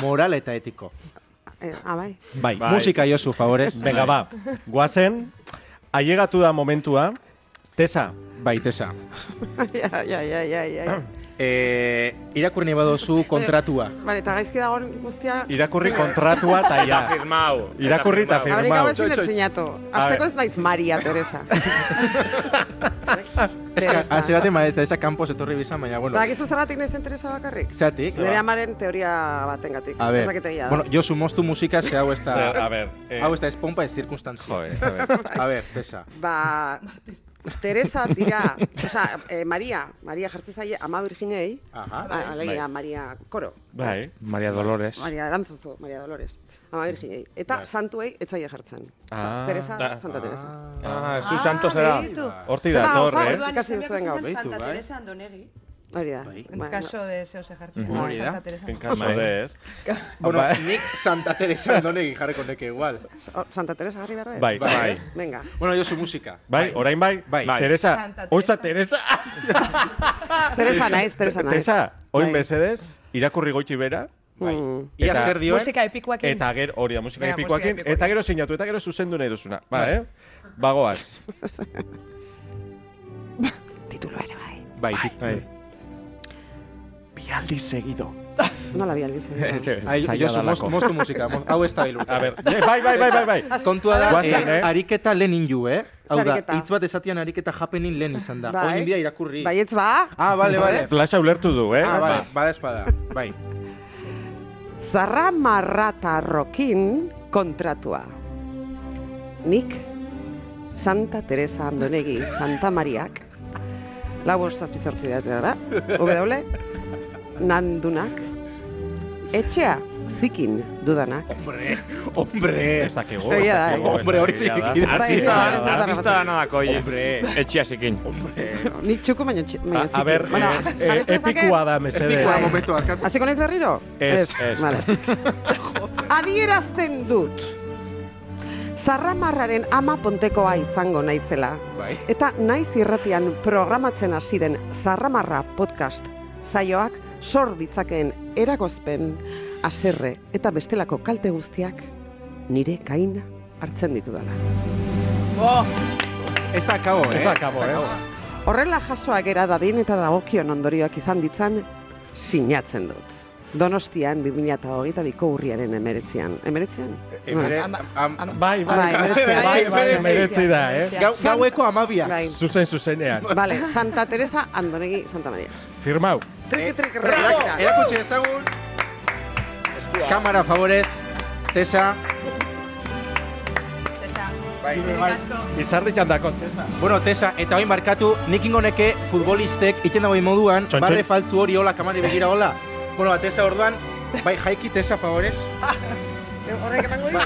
moral eta etiko.
Eh, Ah, bai.
Bai.
Musika jozu, favorez.
Venga, ba. Guazen, ailegatu da momentua. Tesa,
Baitesa.
Ja, ja, ja, ja, ja.
E, irakurni badozu kontratua.
Bale, eta gaizki dagoen guztia...
irakurri kontratua ba, eta ja.
Firmau.
Irakurri eta firmau.
Habrik gabe ezin
Txoi,
dut
txoi.
sinatu. Azteko ez naiz Maria Teresa.
Ah, Ez que,
Teresa.
hazi baten, maletza, esa kanpo zetorri bizan, baina, bueno.
Badakizu zergatik naizen Teresa bakarrik?
Zatik.
Nire amaren teoria batengatik.
A
Ez
ver,
dakit egia da.
bueno, Josu, moztu musika, ze hau ez
Zer, a
da...
ber. eh,
Hau ez da, ez pompa, ez zirkunstantzia.
Joder, a ber.
A ver, pesa.
Ba, Teresa dira, osea, eh, Maria, Maria jartzen zaie ama Virginei,
Aha.
a- alegia Maria Koro,
Bai, Maria Dolores.
Maria Arantzazu, Maria Dolores, ama Virginei. Eta
Bai.
santuei etzaile jartzen.
Ah,
Teresa,
da-
Santa Teresa.
Ah, zu santo zera.
bai.
Horti
Zer
da,
dago,
torre,
zer
eh?
dago? Ikasi duzuen gaur.
Beitu,
Santa
bai.
Teresa Andonegi.
Hori da.
Bai.
En
Ba,
caso
no.
de zeo se jartzen.
Mhm. Hori da.
Santa Teresa.
En caso
Bai.
de ez.
Bueno,
Bai.
nik Santa Teresa andonegi jarreko neke igual.
Oh, Santa Teresa jarri behar dut?
Bai.
Bai.
Venga.
Bueno, Josu, musika.
Bai, orain bai.
Bai.
Teresa,
Santa
oitza
Teresa.
Teresa.
Teresa naiz, Teresa naiz.
Teresa, oin
Bai.
mesedez, irakurri goiti bera.
Bai.
Mm.
Ia
Eta-
zer dioen?
Musika epikoak egin.
Eta gero, hori da, musika
Venga,
epikoakin,
musika epikoekin.
eta gero sinatu, eta gero zuzendu nahi Ba, duzuna. Ba, eh? Bagoaz.
Titulo ere bai.
Bai, tit-
Bi aldiz segido.
Nola bi aldiz. egin da.
Ai, Josu, most, moztu musika, moz- hau ez da iluta.
A ber, bai, bai, bai, bai, bai.
Kontua da,
Guazen,
eh,
eh?
ariketa lehen inju, eh? Hau da,
Ariketa.
hitz bat esatian ariketa japenin lehen izan da.
Bai.
Bai. Oin bida irakurri.
Baietz ba,
Ah, bale, bale.
Plaza ulertu du, eh?
Ah, bale,
Ba.
bada espada. Bai.
zarra marratarrokin kontratua. Nik, Santa Teresa Andonegi, Santa Mariak, lau bost zazpizortzi da, da, W, nandunak, etxea, zikin dudanak,
Hombre, hombre.
Ez dakigu, ez
Egia da,
dakigu,
eh?
ez
Hombre, hori
dakigu,
zirik
ez dakigu.
Bai,
Artista,
ez da-
artista da nadako, oie. Etxea zikin.
nik txuku baino, txi- baino
A,
zikin.
a ber,
Bueno,
eh, eh,
jarraitu dezake?
epikua da, mesedez.
Epikoa,
momentu arkatu.
Hasiko naiz berriro?
Ez,
ez. Vale. Adierazten dut. Zarramarraren ama pontekoa izango naizela.
Bai.
Eta naiz irratian programatzen hasi den Zarramarra podcast saioak sor ditzakeen eragozpen, haserre eta bestelako kalte guztiak nire kaina hartzen ditudala.
Ez da kabo, eh?
Ez da kabo, eh?
Horrela jasoa gera dadin eta dagokion ondorioak izan ditzan sinatzen dut. Donostian 2022ko urriaren emeretzian. Emeretzian?
Emere- am- am-
Bai, bai,
Bai, meretzi da,
bai,
bai,
meretzi
meretzi
da,
da,
eh?
meretzi
Gau, gaueko amabia.
Bai.
Zuzen zuzenean.
Vale, Santa Teresa Andonegi Santa Maria.
Firmau.
eh,
Triki, triki,
Erak-
redakta.
Erakutsi ezagun. Kamara favorez. Tesa. Bai, bai.
Izardik handako.
Bueno, Tesa, eta oin barkatu, nik ingoneke futbolistek iten dagoen moduan,
Txon, txon.
barre faltzu hori hola, kamari begira hola. Bueno, ba, Tesa orduan, bai, jaiki Tesa favorez.
Horrek emango dira?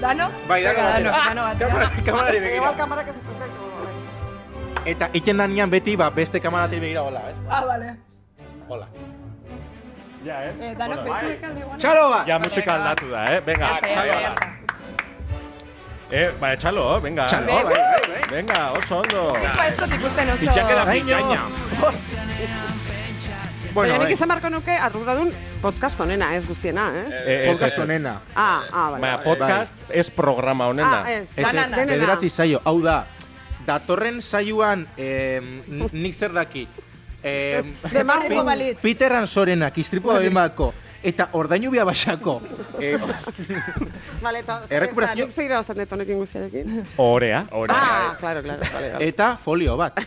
Dano?
Bai, dano
Venga,
batera.
dano batera.
Kamara, kamarari
Igual
begira.
kamarak ez dut
Eta iten danean beti, ba, beste kamarati begira hola, eh?
Ah, vale.
Hola.
Ja, ez?
Eh, danok beitu ekalde guana.
Txalo ba!
Ja, musika aldatu da, eh? Venga,
Ya está, ya está, ya está.
Eh, bai, txalo, venga.
Txalo,
Bai,
bai, bai, bai.
Venga, oso ondo.
Ba, ez dut ikusten oso...
Itxakela pikaina.
Bueno,
Baina nik
bai.
izan barko nuke arduradun podcast honena, ez guztiena, eh?
Eh, ez,
Podcast
ez, ez.
honena.
Ah, ah, bai.
Baina podcast ez programa honena.
Ah, ez,
Ez, ez,
Banana.
denena.
bederatzi saio, hau da, datorren saioan, eh, nik zer daki, eh,
Demarriko balitz.
Peter Ansorenak, istripua beben bako, eta ordainu bia basako. Eh,
Vale, eta
Errekuperazio-
nik zeira bastan dut honekin guztiarekin.
Orea. Bai.
Ah, claro, claro, vale, vale.
eta folio bat.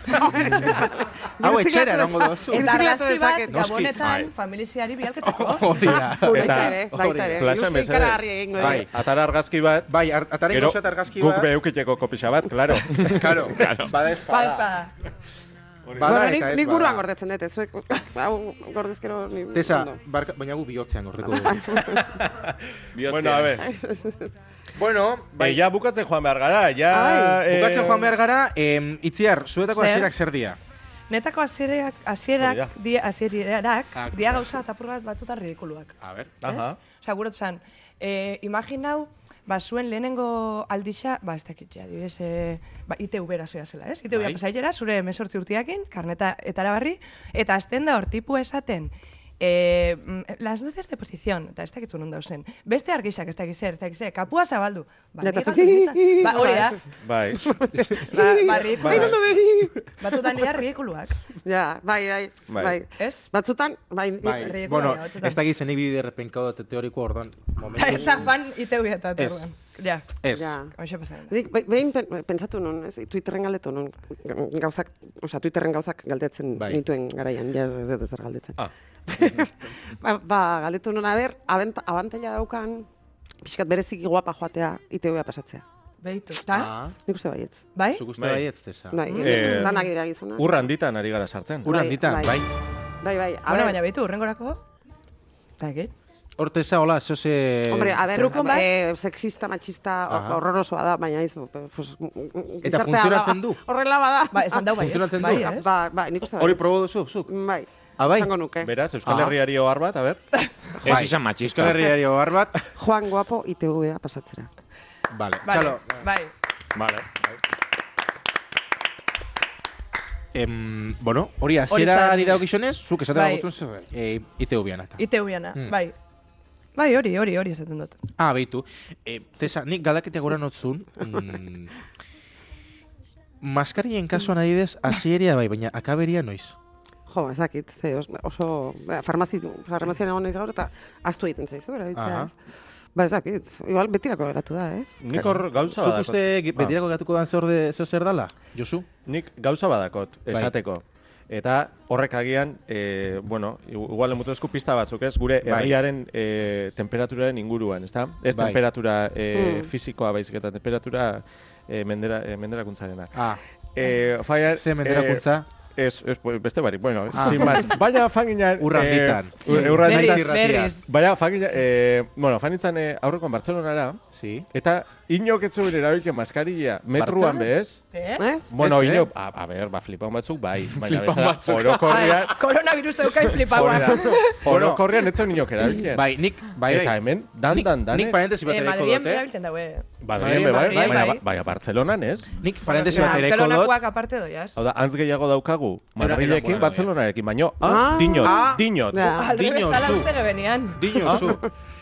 Hau etxera erango dozu.
Ez-
Eta argazki
Birziklatu
bat,
dezaket.
gabonetan,
Noski.
familiziari bialketako.
Hori da.
Baita
Eta-
ere, baita
eh,
ere.
Plaza,
Ilusio
mesedez.
ikaragarri egingo dira.
Bai, atara argazki bat.
Bai, ar- atareko zat argazki
guk
bat.
beukiteko kopixa bat, klaro.
Karo, bada
Ba,
espada.
espada.
Bada
Bueno,
eta
nik,
ez
nik
bada.
buruan gordetzen dut, ez zuek, hau gordezkero ni...
Tesa,
ondo.
barka, baina gu bihotzean gordeko dugu.
bueno, a
Bai.
ver.
bueno,
Bai, ja bukatzen joan behar gara, ja... eh,
Ai, bukatzen joan behar gara, em, itziar, zuetako
Zer?
hasierak zer dia?
Netako hasierak,
Hori da.
hasierak, di, hasierak,
Ah,
dia gauza eta apur bat batzuta ridikuluak.
A ber.
Aha.
Osa, gurot zan, e, imaginau, ba, zuen lehenengo aldixa, ba, ez dakit, ja, dibes, e, ba, ITV-ra zoia zela, ez? ITV-ra
Bai.
pasailera, zure mesortzi urtiakin, karneta etarabarri, eta azten da hortipu esaten, e, mm, las luces de posición, eta ez dakitzu non dauzen, beste argixak, ez dakit zer, ez dakit zer, kapua zabaldu, ba,
Eta
ni
zu-
galdu nintzen. ba, hori da,
Bai.
ba, ba, ridikuluak.
Bai, ondo
batzutan dira ridikuluak,
Ja, bai, bai,
Bai.
bai.
Ez?
Batzutan, bai,
Bai,
Ridikuloa
bueno,
dira, batzutan.
ez da gizan ibide repenkau dut teoriko orduan.
eta ez da fan ITV-eta,
Ez.
Ja,
Ez.
Ja.
hoxe pasatzen da.
Nik be- behin pen- pentsatu nun, ez, Twitterren galdetu nun, gauzak, osea, Twitterren gauzak galdetzen
Bai.
nituen garaian, ja ez dut ezer galdetzen.
Ah.
ba, ba, galdetu nun, aber, abantaila daukan, pixkat bereziki guapa joatea, ITV-a pasatzea.
Beitu, eta,
Nik uste baietz.
bai?
Ah, Zuk uste
Bai.
bai ez, tesa.
Bai,
Eh,
danak dira gizona.
Urra handitan ari gara sartzen.
Ura
Bai,
handitan,
bai.
bai.
Bai, bai, a
Bueno,
ber,
baina beitu, urrengorako, eta egin.
Hor tesa, hola, zoze...
Hombre, a ber,
Trukon bai?
eh, sexista, machista,
Aha.
horrorosoa da, baina izu, pues, gizartea
Eta funtzionatzen
ba-
du?
Horrela bada.
Ba, esan dau bai, ez?
Funtzionatzen du.
Bai,
Ba,
ez?
ba, ba, nik uste
Hori probo duzu, zuk.
Bai.
Ah, bai?
Esango nuke.
Beraz, Euskal
Ah.
Herriari ohar bat, a ber.
Ez
Bai.
izan
Euskal
matxizka.
Herriari hor bat.
Juan Guapo ITV-a pasatzera.
Vale,
Vale,
txalo.
Bai.
Vale.
Em, bueno, hori
Hori
aziera
zan.
ari daukizonez, zuk esaten
Bai.
bai. bagotzen zer, eh, ITV-an eta.
ITV-ana,
Hmm.
bai. Bai, hori, hori, hori esaten dut.
Ah, beitu. Eh, tesa, nik galdaketa gora notzun. Mm, maskarien kasuan adibidez, hasieria bai, baina akaberia noiz.
Jo, ezakit, ze os- oso, ba, farmazi, farmazian egon naiz gaur, eta astu egiten zaizu, erabiltzea.
Aha.
ez? Ba, ezakit, igual betirako geratu da, ez?
Nik hor gauza
Zuk
badakot.
uste ge-
Ba.
betirako gatuko dan zer, de, zer zer dala? Josu?
Nik gauza badakot,
Bai.
esateko. Eta horrek agian, e, bueno, igual emutu esku pista batzuk, ez? Gure
Bai.
herriaren e, temperaturaren inguruan, ezta? Ez
Bai.
temperatura e,
Mm.
fisikoa baizik eta temperatura e, mendera, e, menderakuntzarena.
Ah,
E, fire,
ze menderakuntza?
E, ez, ez, beste barik, bueno,
Ah.
sin más. Baina fangina...
Urranditan.
E, ur- urranditan.
Berriz, berriz.
Baina fangina, e, bueno, fanitzen e, aurrekoan Bartzelonara,
Sí.
eta inok etzuen erabiltzen maskarilla metruan
Bartzelona?
bez,
Eh?
Ez?
Bueno,
Ez,
ino,
eh?
a, a ber, ba, flipaun batzuk, bai. Baina bestela, orokorrean,
Ai, Ah, Koronavirus Eh, eukai
hori da,
flipaua.
orokorrean ez zuen inok erabiltzen.
Bai, nik, bai, bai.
Eta hemen, dan,
Nik-
dan, dan.
Nik parentesi bat
Eh,
ereko
Madrien
dute.
erabiltzen eh. daue.
Madrien, be, bai,
Madrien,
bai,
bai.
baina, baina Bartzelonan, ez?
Nik parentesi bat ereko dut.
Barcelonakoak Ba, aparte doiaz.
Hau da, antz gehiago daukagu,
Era- era
Madrilekin,
buena,
Bartzelonarekin, baino, ah,
Ah,
dinot,
ah,
dinot.
Da.
Alre
Dino,
bezala
zu.
uste nebenian.
Dino, zu.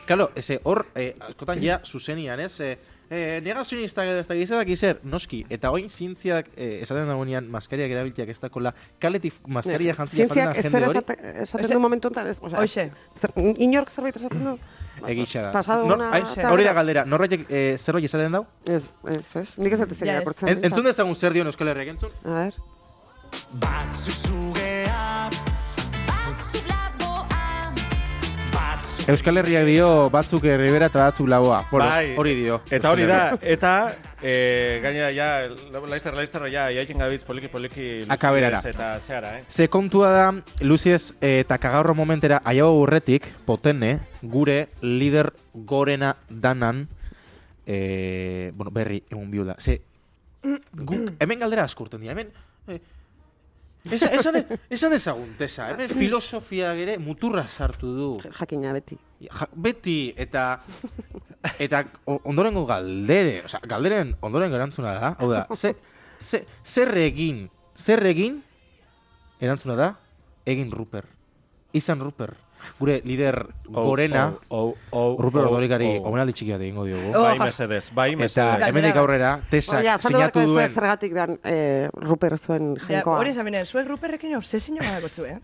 Claro, ese hor, eh, askotan ja, zuzenian, ez? Eh, eh, negazionista edo ez da gizabak izer, noski, eta oin zientziak eh, esaten dagoenean maskariak erabiltiak ez dakola, kaletik maskaria jantzia
Eh, Zientziak
jende
ez zer
hori.
esate- esaten du momentu enten, ez? Osea,
Hoxe.
zer- inork zerbait esaten du?
Egitxa da.
Pasado
Nor-
una...
ai,
eta-
hori da galdera, norbaitek eh, zerbait esaten dau?
Ez, ez, ez. Nik ez dut ezer
Ja, ez.
irakurtzen.
En, entzun dezagun zer dion Euskal Herriak entzun?
A ver.
Euskal Herriak dio batzuk eh, Rivera eta batzuk Laboa. Bueno,
Bai.
hori dio.
Eta hori da, eta e, gainera ja, laizter, laizter, ja, jaikin gabiz poliki, poliki luziez
Akaberara.
eta zehara, eh?
Ze kontua da, Luziez eta kagarro momentera aiago urretik, potene, gure lider gorena danan, e, bueno, berri egun biuda. Ze, guk, hemen galdera askurten dira, hemen... E, esa, esa, de, esa dezagun, tesa. Hemen filosofia ere muturra sartu du.
Jakina beti.
Ja, beti eta eta o- ondorengo galdere, osea, galderen ondorengo erantzuna da, hau da, ze, ze, zer egin, zer egin erantzuna da, egin Ruper. Izan Ruper. Gure lider gorena,
oh, oh,
Ruper Ordorikari omenaldi txiki bat egingo diogu.
Oh,
Bai,
jas-
mesedez, bai,
Eta
mesedez.
hemendik
Galdera.
aurrera, tesak
Oia, zaldu Ba, beharko
sinatu
ez
duen
zergatik dan eh, Ruper zuen
Ja,
jainkoa.
hori esan benen, zuek ruperrekin obsesio badakotzu, eh?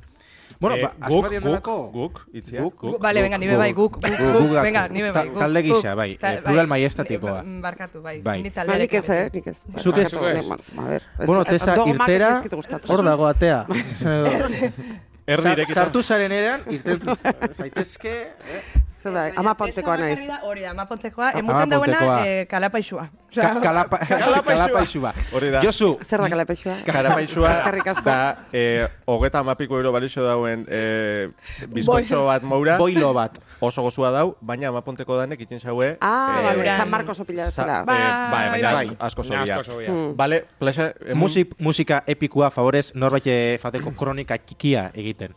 Bueno,
Eh,
ba,
guk,
azpatian
guk,
delako-
guk, itzia,
Guk,
guk.
Bale,
Guk,
venga, nibe bai, guk, guk,
guk,
guk,
guk,
venga,
guk.
nibe
Ta-
bai, guk.
talde gisa,
guk.
bai,
Ta-
eh, plural maiestekoa.
Ni- Barkatu, bai,
Bai.
ni
Ba, nik
taldearekin.
ez, eh, nik ez.
Zuk ez,
Barkatu,
zuk ez.
ne- a ber, ez-
Bueno,
eh,
tesa
dogmak ez
irtera,
zaizkit gustatzen.
hor dago atea.
Erdi
Sa-
irekita.
Sartu zaren eran, irten zaitezke, eh?
Zer da,
Baina
ama
tesa
pontekoa naiz.
bakarri da Hori da, ama eh, pontekoa,
Ama
emuten dauena
pontekoa.
eh, kalapaixua. Osea,
Ka kalapa, kalapaixua.
Hori da.
Josu,
Zer da kalapexua?
Karapaixua
Eskerrik asko.
da eh, hogeta amapiko euro balixo dauen eh, bizkotxo bat moura.
boilo bat.
Oso gozua dau, baina amaponteko danek itin zaue.
Ah,
eh,
vale,
Euran.
San Marcos opila
Sa-
bezala.
eh,
Bai,
bai, baina
bai.
asko- asko
Asko
zobia.
Mm.
zobia.
Mm.
Vale, eh, plaxa, emun-
Musik, musika epikoa favorez norbait eh, fateko kronika txikia egiten.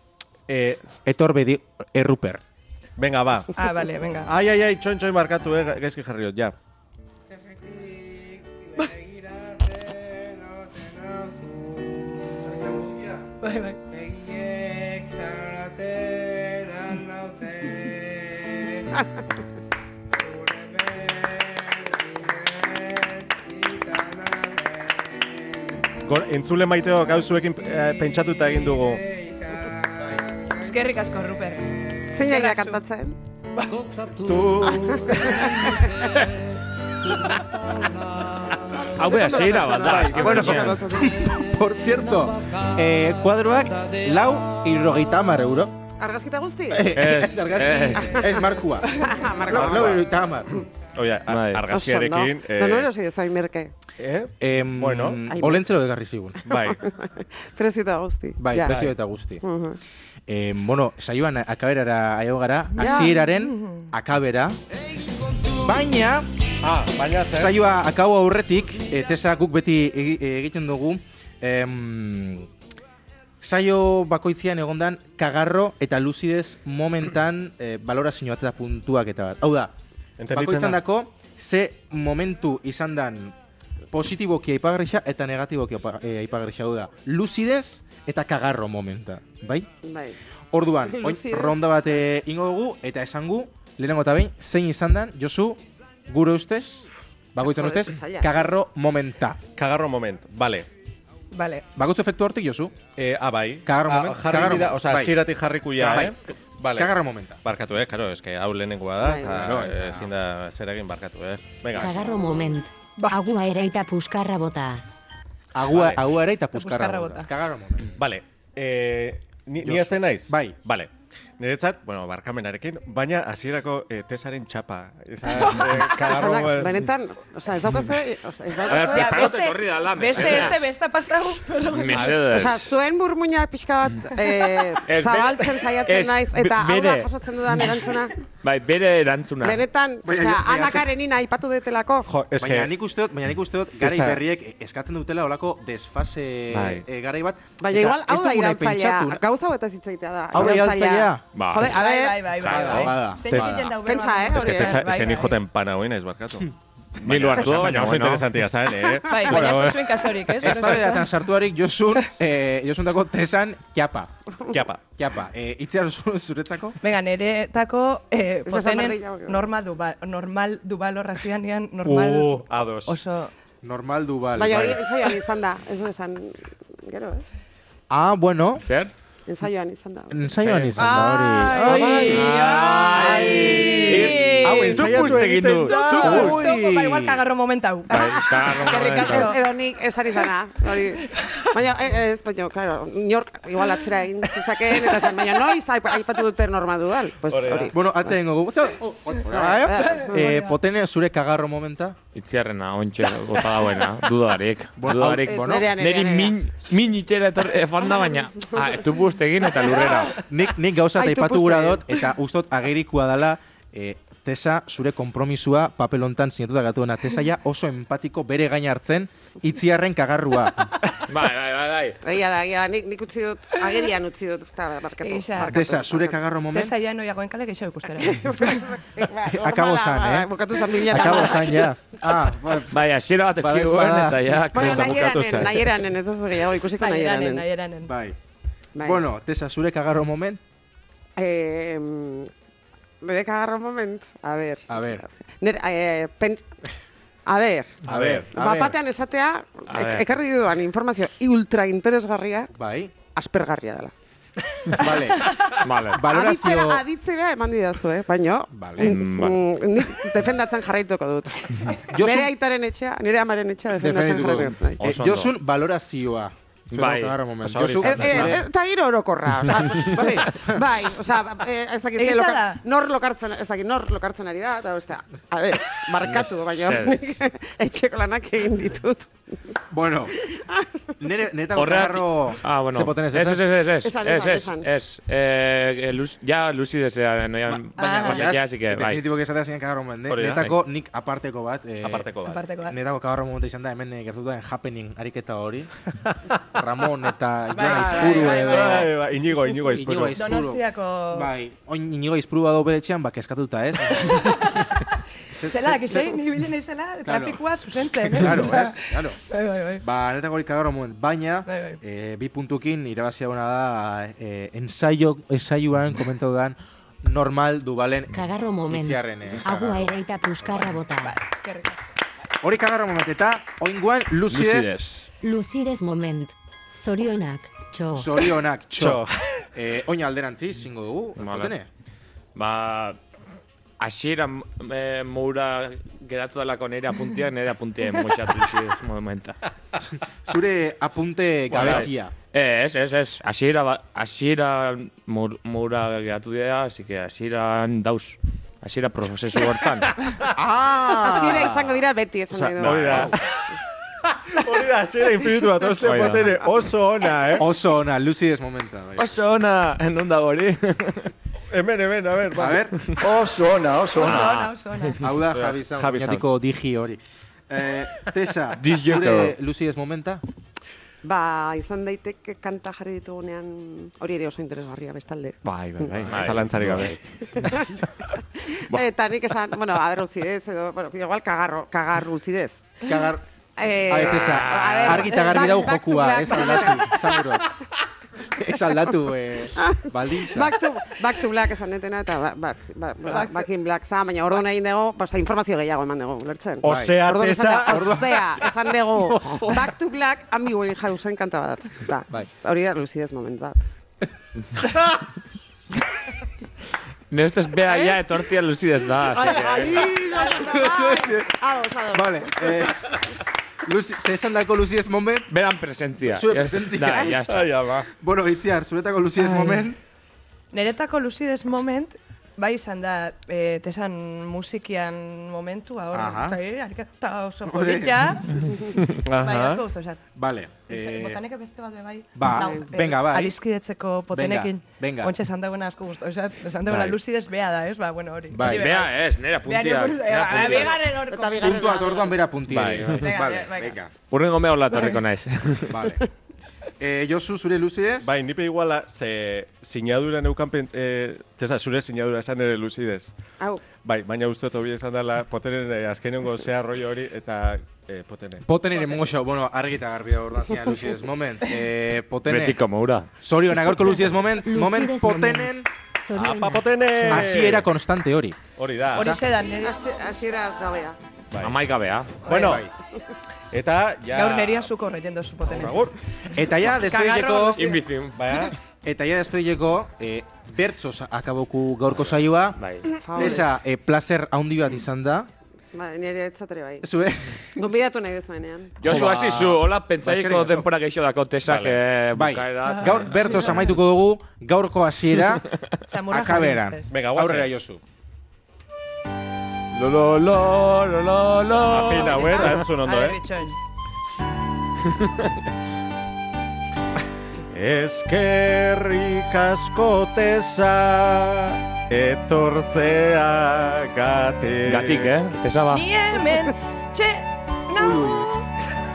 Eh,
Etor bedi erruper.
venga, ba.
Ah, bale, venga.
Ai, ai, ai, txoin, txoin markatu, eh, ga- gaizki jarriot, ja.
Bai, bai.
Gor, entzule maiteo gauzuekin eh, pentsatuta egin dugu.
Eskerrik asko, Ruper.
Zein ari da kantatzen?
Hau beha, zeira bat da. azken
Bueno,
finean.
Por cierto, eh, kuadroak lau irrogeita hamar euro.
Argazkita guzti?
Eh,
Ez,
Argazki- Ez markua. Lau lau irrogeita hamar.
Oia, a-
Bai.
argazkiarekin...
Eh... Da, nore hori zain merke.
eh,
Em,
Bueno.
Olentzero egarri zigun.
bai,
Prezita guzti.
Bai,
Ja.
prezio eta guzti.
Mhm.
Eh, bueno, saioan akaberara aio gara, hasieraren akabera. Baina,
Ah, baina zer?
Saioa akabo aurretik, e, tesa guk beti egi- e, egiten dugu, em, saio bakoitzean egondan kagarro eta luzidez momentan e, balorazio bat eta puntuak eta bat. Hau da,
Entenditzen
bakoitzan
da.
dako, ze momentu izan dan positiboki aipagarrixa eta negatiboki apa- e, aipagarrixa. Hau da, luzidez eta kagarro momenta, bai?
Bai.
Orduan, oin,
Luzidez.
ronda bat eh, e, ingo dugu eta esangu, lehenengo eta behin, zein izan dan, Josu, gure ustez, Bagoitzen
Joder,
ustez,
ez zaila.
kagarro momenta.
Kagarro moment, bale.
Bale.
Bagoitzu efektu hortik, Josu?
Eh, ah, bai.
Kagarro
Ah,
moment,
Jarri
kagarro
bida,
moment,
oza,
bai.
ziratik jarrikuia,
Bai.
eh? Vale.
Kagarro momenta.
Barkatu, eh, karo, eske hau lehenengoa da,
Bai,
eta
bai.
eh, ezin da zer egin barkatu, eh? Venga.
Kagarro moment.
Ba.
Agua ereita puskarra bota.
Agua,
Vale.
agua ere eta
Eta puzkarra
puzkarra bota.
bota.
Kagarro momenta.
Bale, eh, ni, ni
Josu.
azten naiz?
Bai.
Bale. Niretzat, bueno, barkamenarekin, baina hasierako eh, tesaren txapa. Esa, eh, kagarro...
Esan da,
moment.
Benetan, osea, ez daukazue, osea, ez
A ver,
daukazue.
prepárate, corrida, la
Beste ese besta pasau.
Mesedez.
Osea, zuen burmuina pixka bat eh,
Ez,
zabaltzen
bere-
saiatzen
ez,
naiz, eta
be-
hau da
bere.
jasotzen dudan erantzuna.
Bai, bere erantzuna.
Benetan, osea, anakaren ina aipatu detelako.
Jo, eske,
Baina nik uste dut, baina nik uste dut, garai
Esa-
berriek eskatzen dutela olako desfase
Bai.
eh, garai bat.
Baina
Eta
igual, hau
ez
da
dugu nahi
irautzailea.
pentsatu.
Gauza hau eta zitzaitea da.
Hau da irautzailea.
Ba,
Jode, a
Bai,
ver,
bai, bai, bai.
Bada, bada.
bai. Zein
Bada.
zinen daube.
Pentsa, eh,
eske,
hori,
tesa,
eh,
bai,
eske ni joten pana hoina ez barkatu.
Ni lo hartu,
Baina
baina
oso
bueno.
interesantia zan, eh?
Bai, baina ez zuen kasorik, ez?
Ez da beratan sartuarik Josun, eh, Josuntako tesan kiapa.
Kiapa.
Kiapa. Eh, Itziar zu- zuretzako?
Venga, niretako eh,
Ez esan
potenen
berdina, baina.
normal du, normal du balo razianian, normal
Uh, ados.
oso...
Normal du bal.
Baina hori ensaioan izan da, ez du esan, gero, ez?
Ah, bueno.
Zer?
Ensaioan izan da.
Ensaioan izan da hori.
Ah,
Ah,
ai,
Hau
ai.
ensaiatu egiten du.
Zu
Zu pust.
gustuko, ba, igual kagarro momentau.
Bai, kagarro
Eskerrik
momentu.
asko.
Ez,
bai.
edo nik esan izana, hori. Baina, eh, ez, baina, claro, inork igual atzera egin zezakeen, eta esan, baina noiz aip- aipatu dute norma dual, pues
Hori da.
hori.
Bueno, atze egingo gu. Zer- oh, oh, Eh, potene zure kagarro momenta?
Itziarrena, ontxe, gota dagoena. Dudarik.
Bueno,
Dudarik,
hau-
bueno.
Ez, nerea, nerea,
Neri
nerea.
min, min itxera etor, efan da baina. Ah, ez du bustegin eta lurrera.
Nik, nik gauza eta
Aitu
ipatu gura
puzte.
dut, eta ustot agerikoa dela, eh, Tesa, zure kompromisua papel hontan sinatuta gatuena. Tesa ja oso empatiko bere gain hartzen, itziarren kagarrua.
Bai, bai, bai, bai.
Egia da, egia da, nik, nik utzi dut, agerian utzi dut, eta barkatu.
Egia.
barkatu,
Tesa, zure
barkatu.
kagarro moment?
Tesa ja noiagoen kale gehiago ikustera.
Akabo
Normala,
zan,
ba,
eh?
Bukatu zan bila eta
Akabo
mala.
zain, ja. Ah,
Bai, asiera bat
Badaezpada.
ekioen eta ja,
Baina
kota bukatu
nahieranen,
zen.
nahieranen, ez ez gehiago ikusiko
Aieranen,
nahieranen.
aieranen.
bai.
Bai.
Bueno, Tesa, zure kagarro moment?
Eh, mm, Bere kagarro moment, a ber.
A ber.
Nere, eh, pen... A ber,
A ber, a ber.
bapatean esatea,
A ber.
ek- ekarri dudan informazio ultra interesgarria,
Bai.
aspergarria dela.
Vale.
Vale.
Valorazio...
Aditzera, aditzera eman didazu, eh? baina
Vale.
mm,
Vale.
mm, nik defendatzen jarraituko dut.
Josu-
Nire aitaren etxea, nire amaren etxea defendatzen
Defendituko
jarraituko
du.
dut. bai.
Eh,
Oso ondo.
Josun, valorazioa. Zure
Bai,
kagarro moment.
oso hori
Josu,
izan
Eh, eh, eh, Eta giro orokorra, osea, bai, bai, osea, eh, ez dakit,
Egia
ze loka-
da.
nor lokartzen, ez dakit, nor lokartzen ari da, eta beste, a ber, barkatu, baina
Mesedez.
etxeko lanak egin ditut.
Bueno, nire, neta
Horregatik-
kagarro...
Ah, bueno.
Se potenez, eh?
ez, ez, ez, ez,
Esan,
ez,
esan,
ez,
esan.
ez, eh, luz, ja luzi desean, no, ja, baina,
ah,
baina, ja, así que, bai.
Definitibo esatea zinen kagarro moment. Ne?
Hori da.
Netako nik aparteko bat. Eh,
Aparteko bat.
Aparteko bat.
Netako kagarro momentu izan da hemen eh, gertuta den happening ariketa hori. Ramon eta Iona
bai,
Izpuru
bai,
edo...
Bai, bai, Inigo, Inigo,
Inigo
Izpuru.
Aizpuru.
Donostiako...
Bai, oin inigo izpuru badau bere etxean, ba, keskatuta, ez? Zer-
Zela,
zer-
kisei, ni bilen eizela, trafikoa zuzentzen. ez?
Claro, eh?
Osea,
ez? Claro.
Bai, bai, bai.
Ba, netako hori kagarro moment, baina
Bai, bai.
eh, bi puntukin irabazi hona da eh, ensaio, ensaioan komentatu dan normal dubalen
Kagarro moment.
Itziarren, eh, kagarro.
Agua ereita puskarra
Bai.
bota.
Eskerrik asko.
Hori kagarro moment eta oinguan lucidez
Lucidez.
Lucides moment. Zorionak, txo.
zorionak txo.
Txo.
eh, oin alderantziz, zingo dugu,
Vale.
jotene?
Ba, asiera eh, moura geratu dalako nire apuntia, nire apuntia moixatu lucidez momenta.
Zure apunte gabezia.
Eh, ez, ez, ez, asiera, ba- asiera mour- moura geratu dira, así que asieran dauz. Asiera prozesu hortan.
Ah.
Ah.
Hasiera izango dira beti, esan nahi
Hori
du.
da.
Hori da, zera infinitu bat, oste
Hori da.
potere oso ona, eh?
Oso ona, lucidez momenta. Bai.
Oso ona, non dago hori?
Hemen, hemen, a ber,
A
bai.
ber,
Oso ona,
Ah.
oso
Oso
ona.
ona, oso ona.
hau da Javi San,
Javi San.
oinatiko digi hori. Eh, Tesa,
Digi
zure
kagarro.
lucidez momenta?
Ba, izan daiteke kanta jarri ditugunean, hori ere oso interesgarria bestalde.
Ba,
Bai, bai, bai,
Bai.
zalantzari gabe.
ba.
Eta nik esan, bueno, a ber, uzidez, edo, bueno, igual kagarro, kagarro uzidez.
Kagar,
Eh,
A ver, Tessa, argi eta garbi
back-
dau
back to
jokua,
black,
ez
back to
aldatu, seguro. Ez aldatu, eh, baldintza.
Back to, back to black esan detena eta ba, ba, ba, back, back in black za, baina orduan egin dago, basta informazio gehiago eman dago, lertzen.
Osea,
Orduan esan da,
tesa-
Osea, esan dago, back to black, ami Winehousen kanta bat. Da,
Bai.
hori da lucidez moment bat.
Ne ustez bea ja etortia lucidez da. así que-
Ai, ados, ados, ados.
Vale, eh, Luzi, te esan dako luziez moment,
Beran presentzia.
Zure
Ya-
presentzia.
Da, ya está.
Ai, ama.
bueno, itziar, zuretako luziez moment,
Neretako lucidez moment, bai izan da, eh, tesan musikian momentua, hor,
Aha.
arikatuta oso
Hore.
polita, bai,
Aha.
asko guztu esat.
vale. Eh,
Eh, botanek beste bat be bai.
ba,
Lau, eh,
venga, bai.
Adiskidetzeko potenekin.
venga.
Ontxe esan dagoena asko guztu. Osea, esan dagoena
Bai.
lucidez bea da, ez? Ba, bueno, hori.
Bai.
Hori
eh,
be
Bea ez, nera
Bea,
puntia.
nire buruz-
nera
eh,
puntia.
bigarren horko.
Eta bigarren
puntua tordan bera puntia.
Bai, bai.
Venga,
vale,
venga.
venga,
Urrengo mea hola torreko naiz.
vale. Eh, Josu, zure luziez?
Bai, nipe iguala, ze sinadura neukan, pent- eh, tesa, zure sinadura esan ere luzidez.
Hau,
Bai, baina uste dut hobia izan dela, potenen eh, azkenengo zea rollo hori, eta eh, potenen.
Poten ere mongo xau, bueno, argi eta garbi da ordan zian luziez moment. Eh, potene.
Betiko moura.
Zorionak gaurko luziez moment,
Lucidez
moment
moment.
potenen eh,
Apa,
Zorionak.
potenen!
hasiera konstante hori.
Hori da.
Hori zedan, nire
hasieraz gabea.
Bai.
Amaika bea.
Bueno,
Bai,
eta Ba, ja...
gaur neria zuko horretzen dozu potenekin.
Agur, Bai,
Eta ja despedileko
Kagarro
Inbizim.
baina,
eta ja despedileko eh bertsos akaboku gaurko saioa.
Bai.
Esa, eh, placer handi bat izan da. eh,
Ba, nire etzatore bai.
Zue,
Gombidatu nahi dezuenean.
Josu
ba.
hasi zu, hola pentsaiko
asko.
denpora geixo dako tesak eh,
bai.
bukaera.
Gaur bertsos amaituko dugu, gaurko hasiera
Zamora
akabera.
jarri ustez.
venga, guazen.
Aurrera Josu.
Lo lo lo lo lo lo.
Afina, hue, eta entzun ondo,
Ale,
eh?
bitxoin.
Eskerrik asko tesa etortzea gatik.
Gatik, eh? Tesaba.
Ni hemen, txe, nau,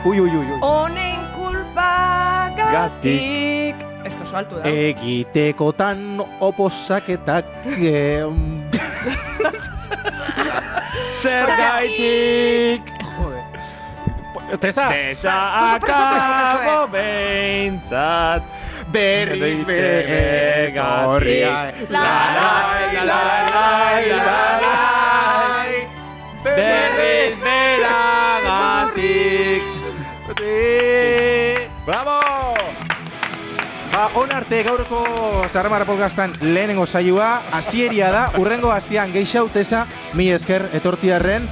Ui, ui, ui, ui.
honen kulpa gatik. Ez oso altu da.
Eh, Egitekotan oposaketak em,
Zer gaitik.
Tesa!
Tesa akabo behintzat.
berriz beregatik.
La la la la la la. Berriz beragatik.
Bravo!
Ba, on arte gaurko Zarramara podcastan lehenengo saioa hasieria da, urrengo astean geixau tesa, mi esker etortiarren,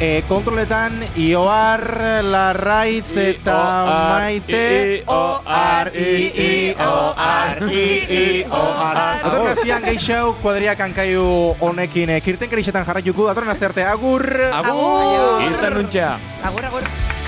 e, kontroletan Ioar, Larraitz eta Maite
I-O-R, I-I-O-R, I-I-O-R.
Atorren astean geixau kuadriak hankaiu honekin eh, kirten kerixetan jarraituko, datorren aste arte agur!
Agur! Izan nuntxea.
Agur, agur.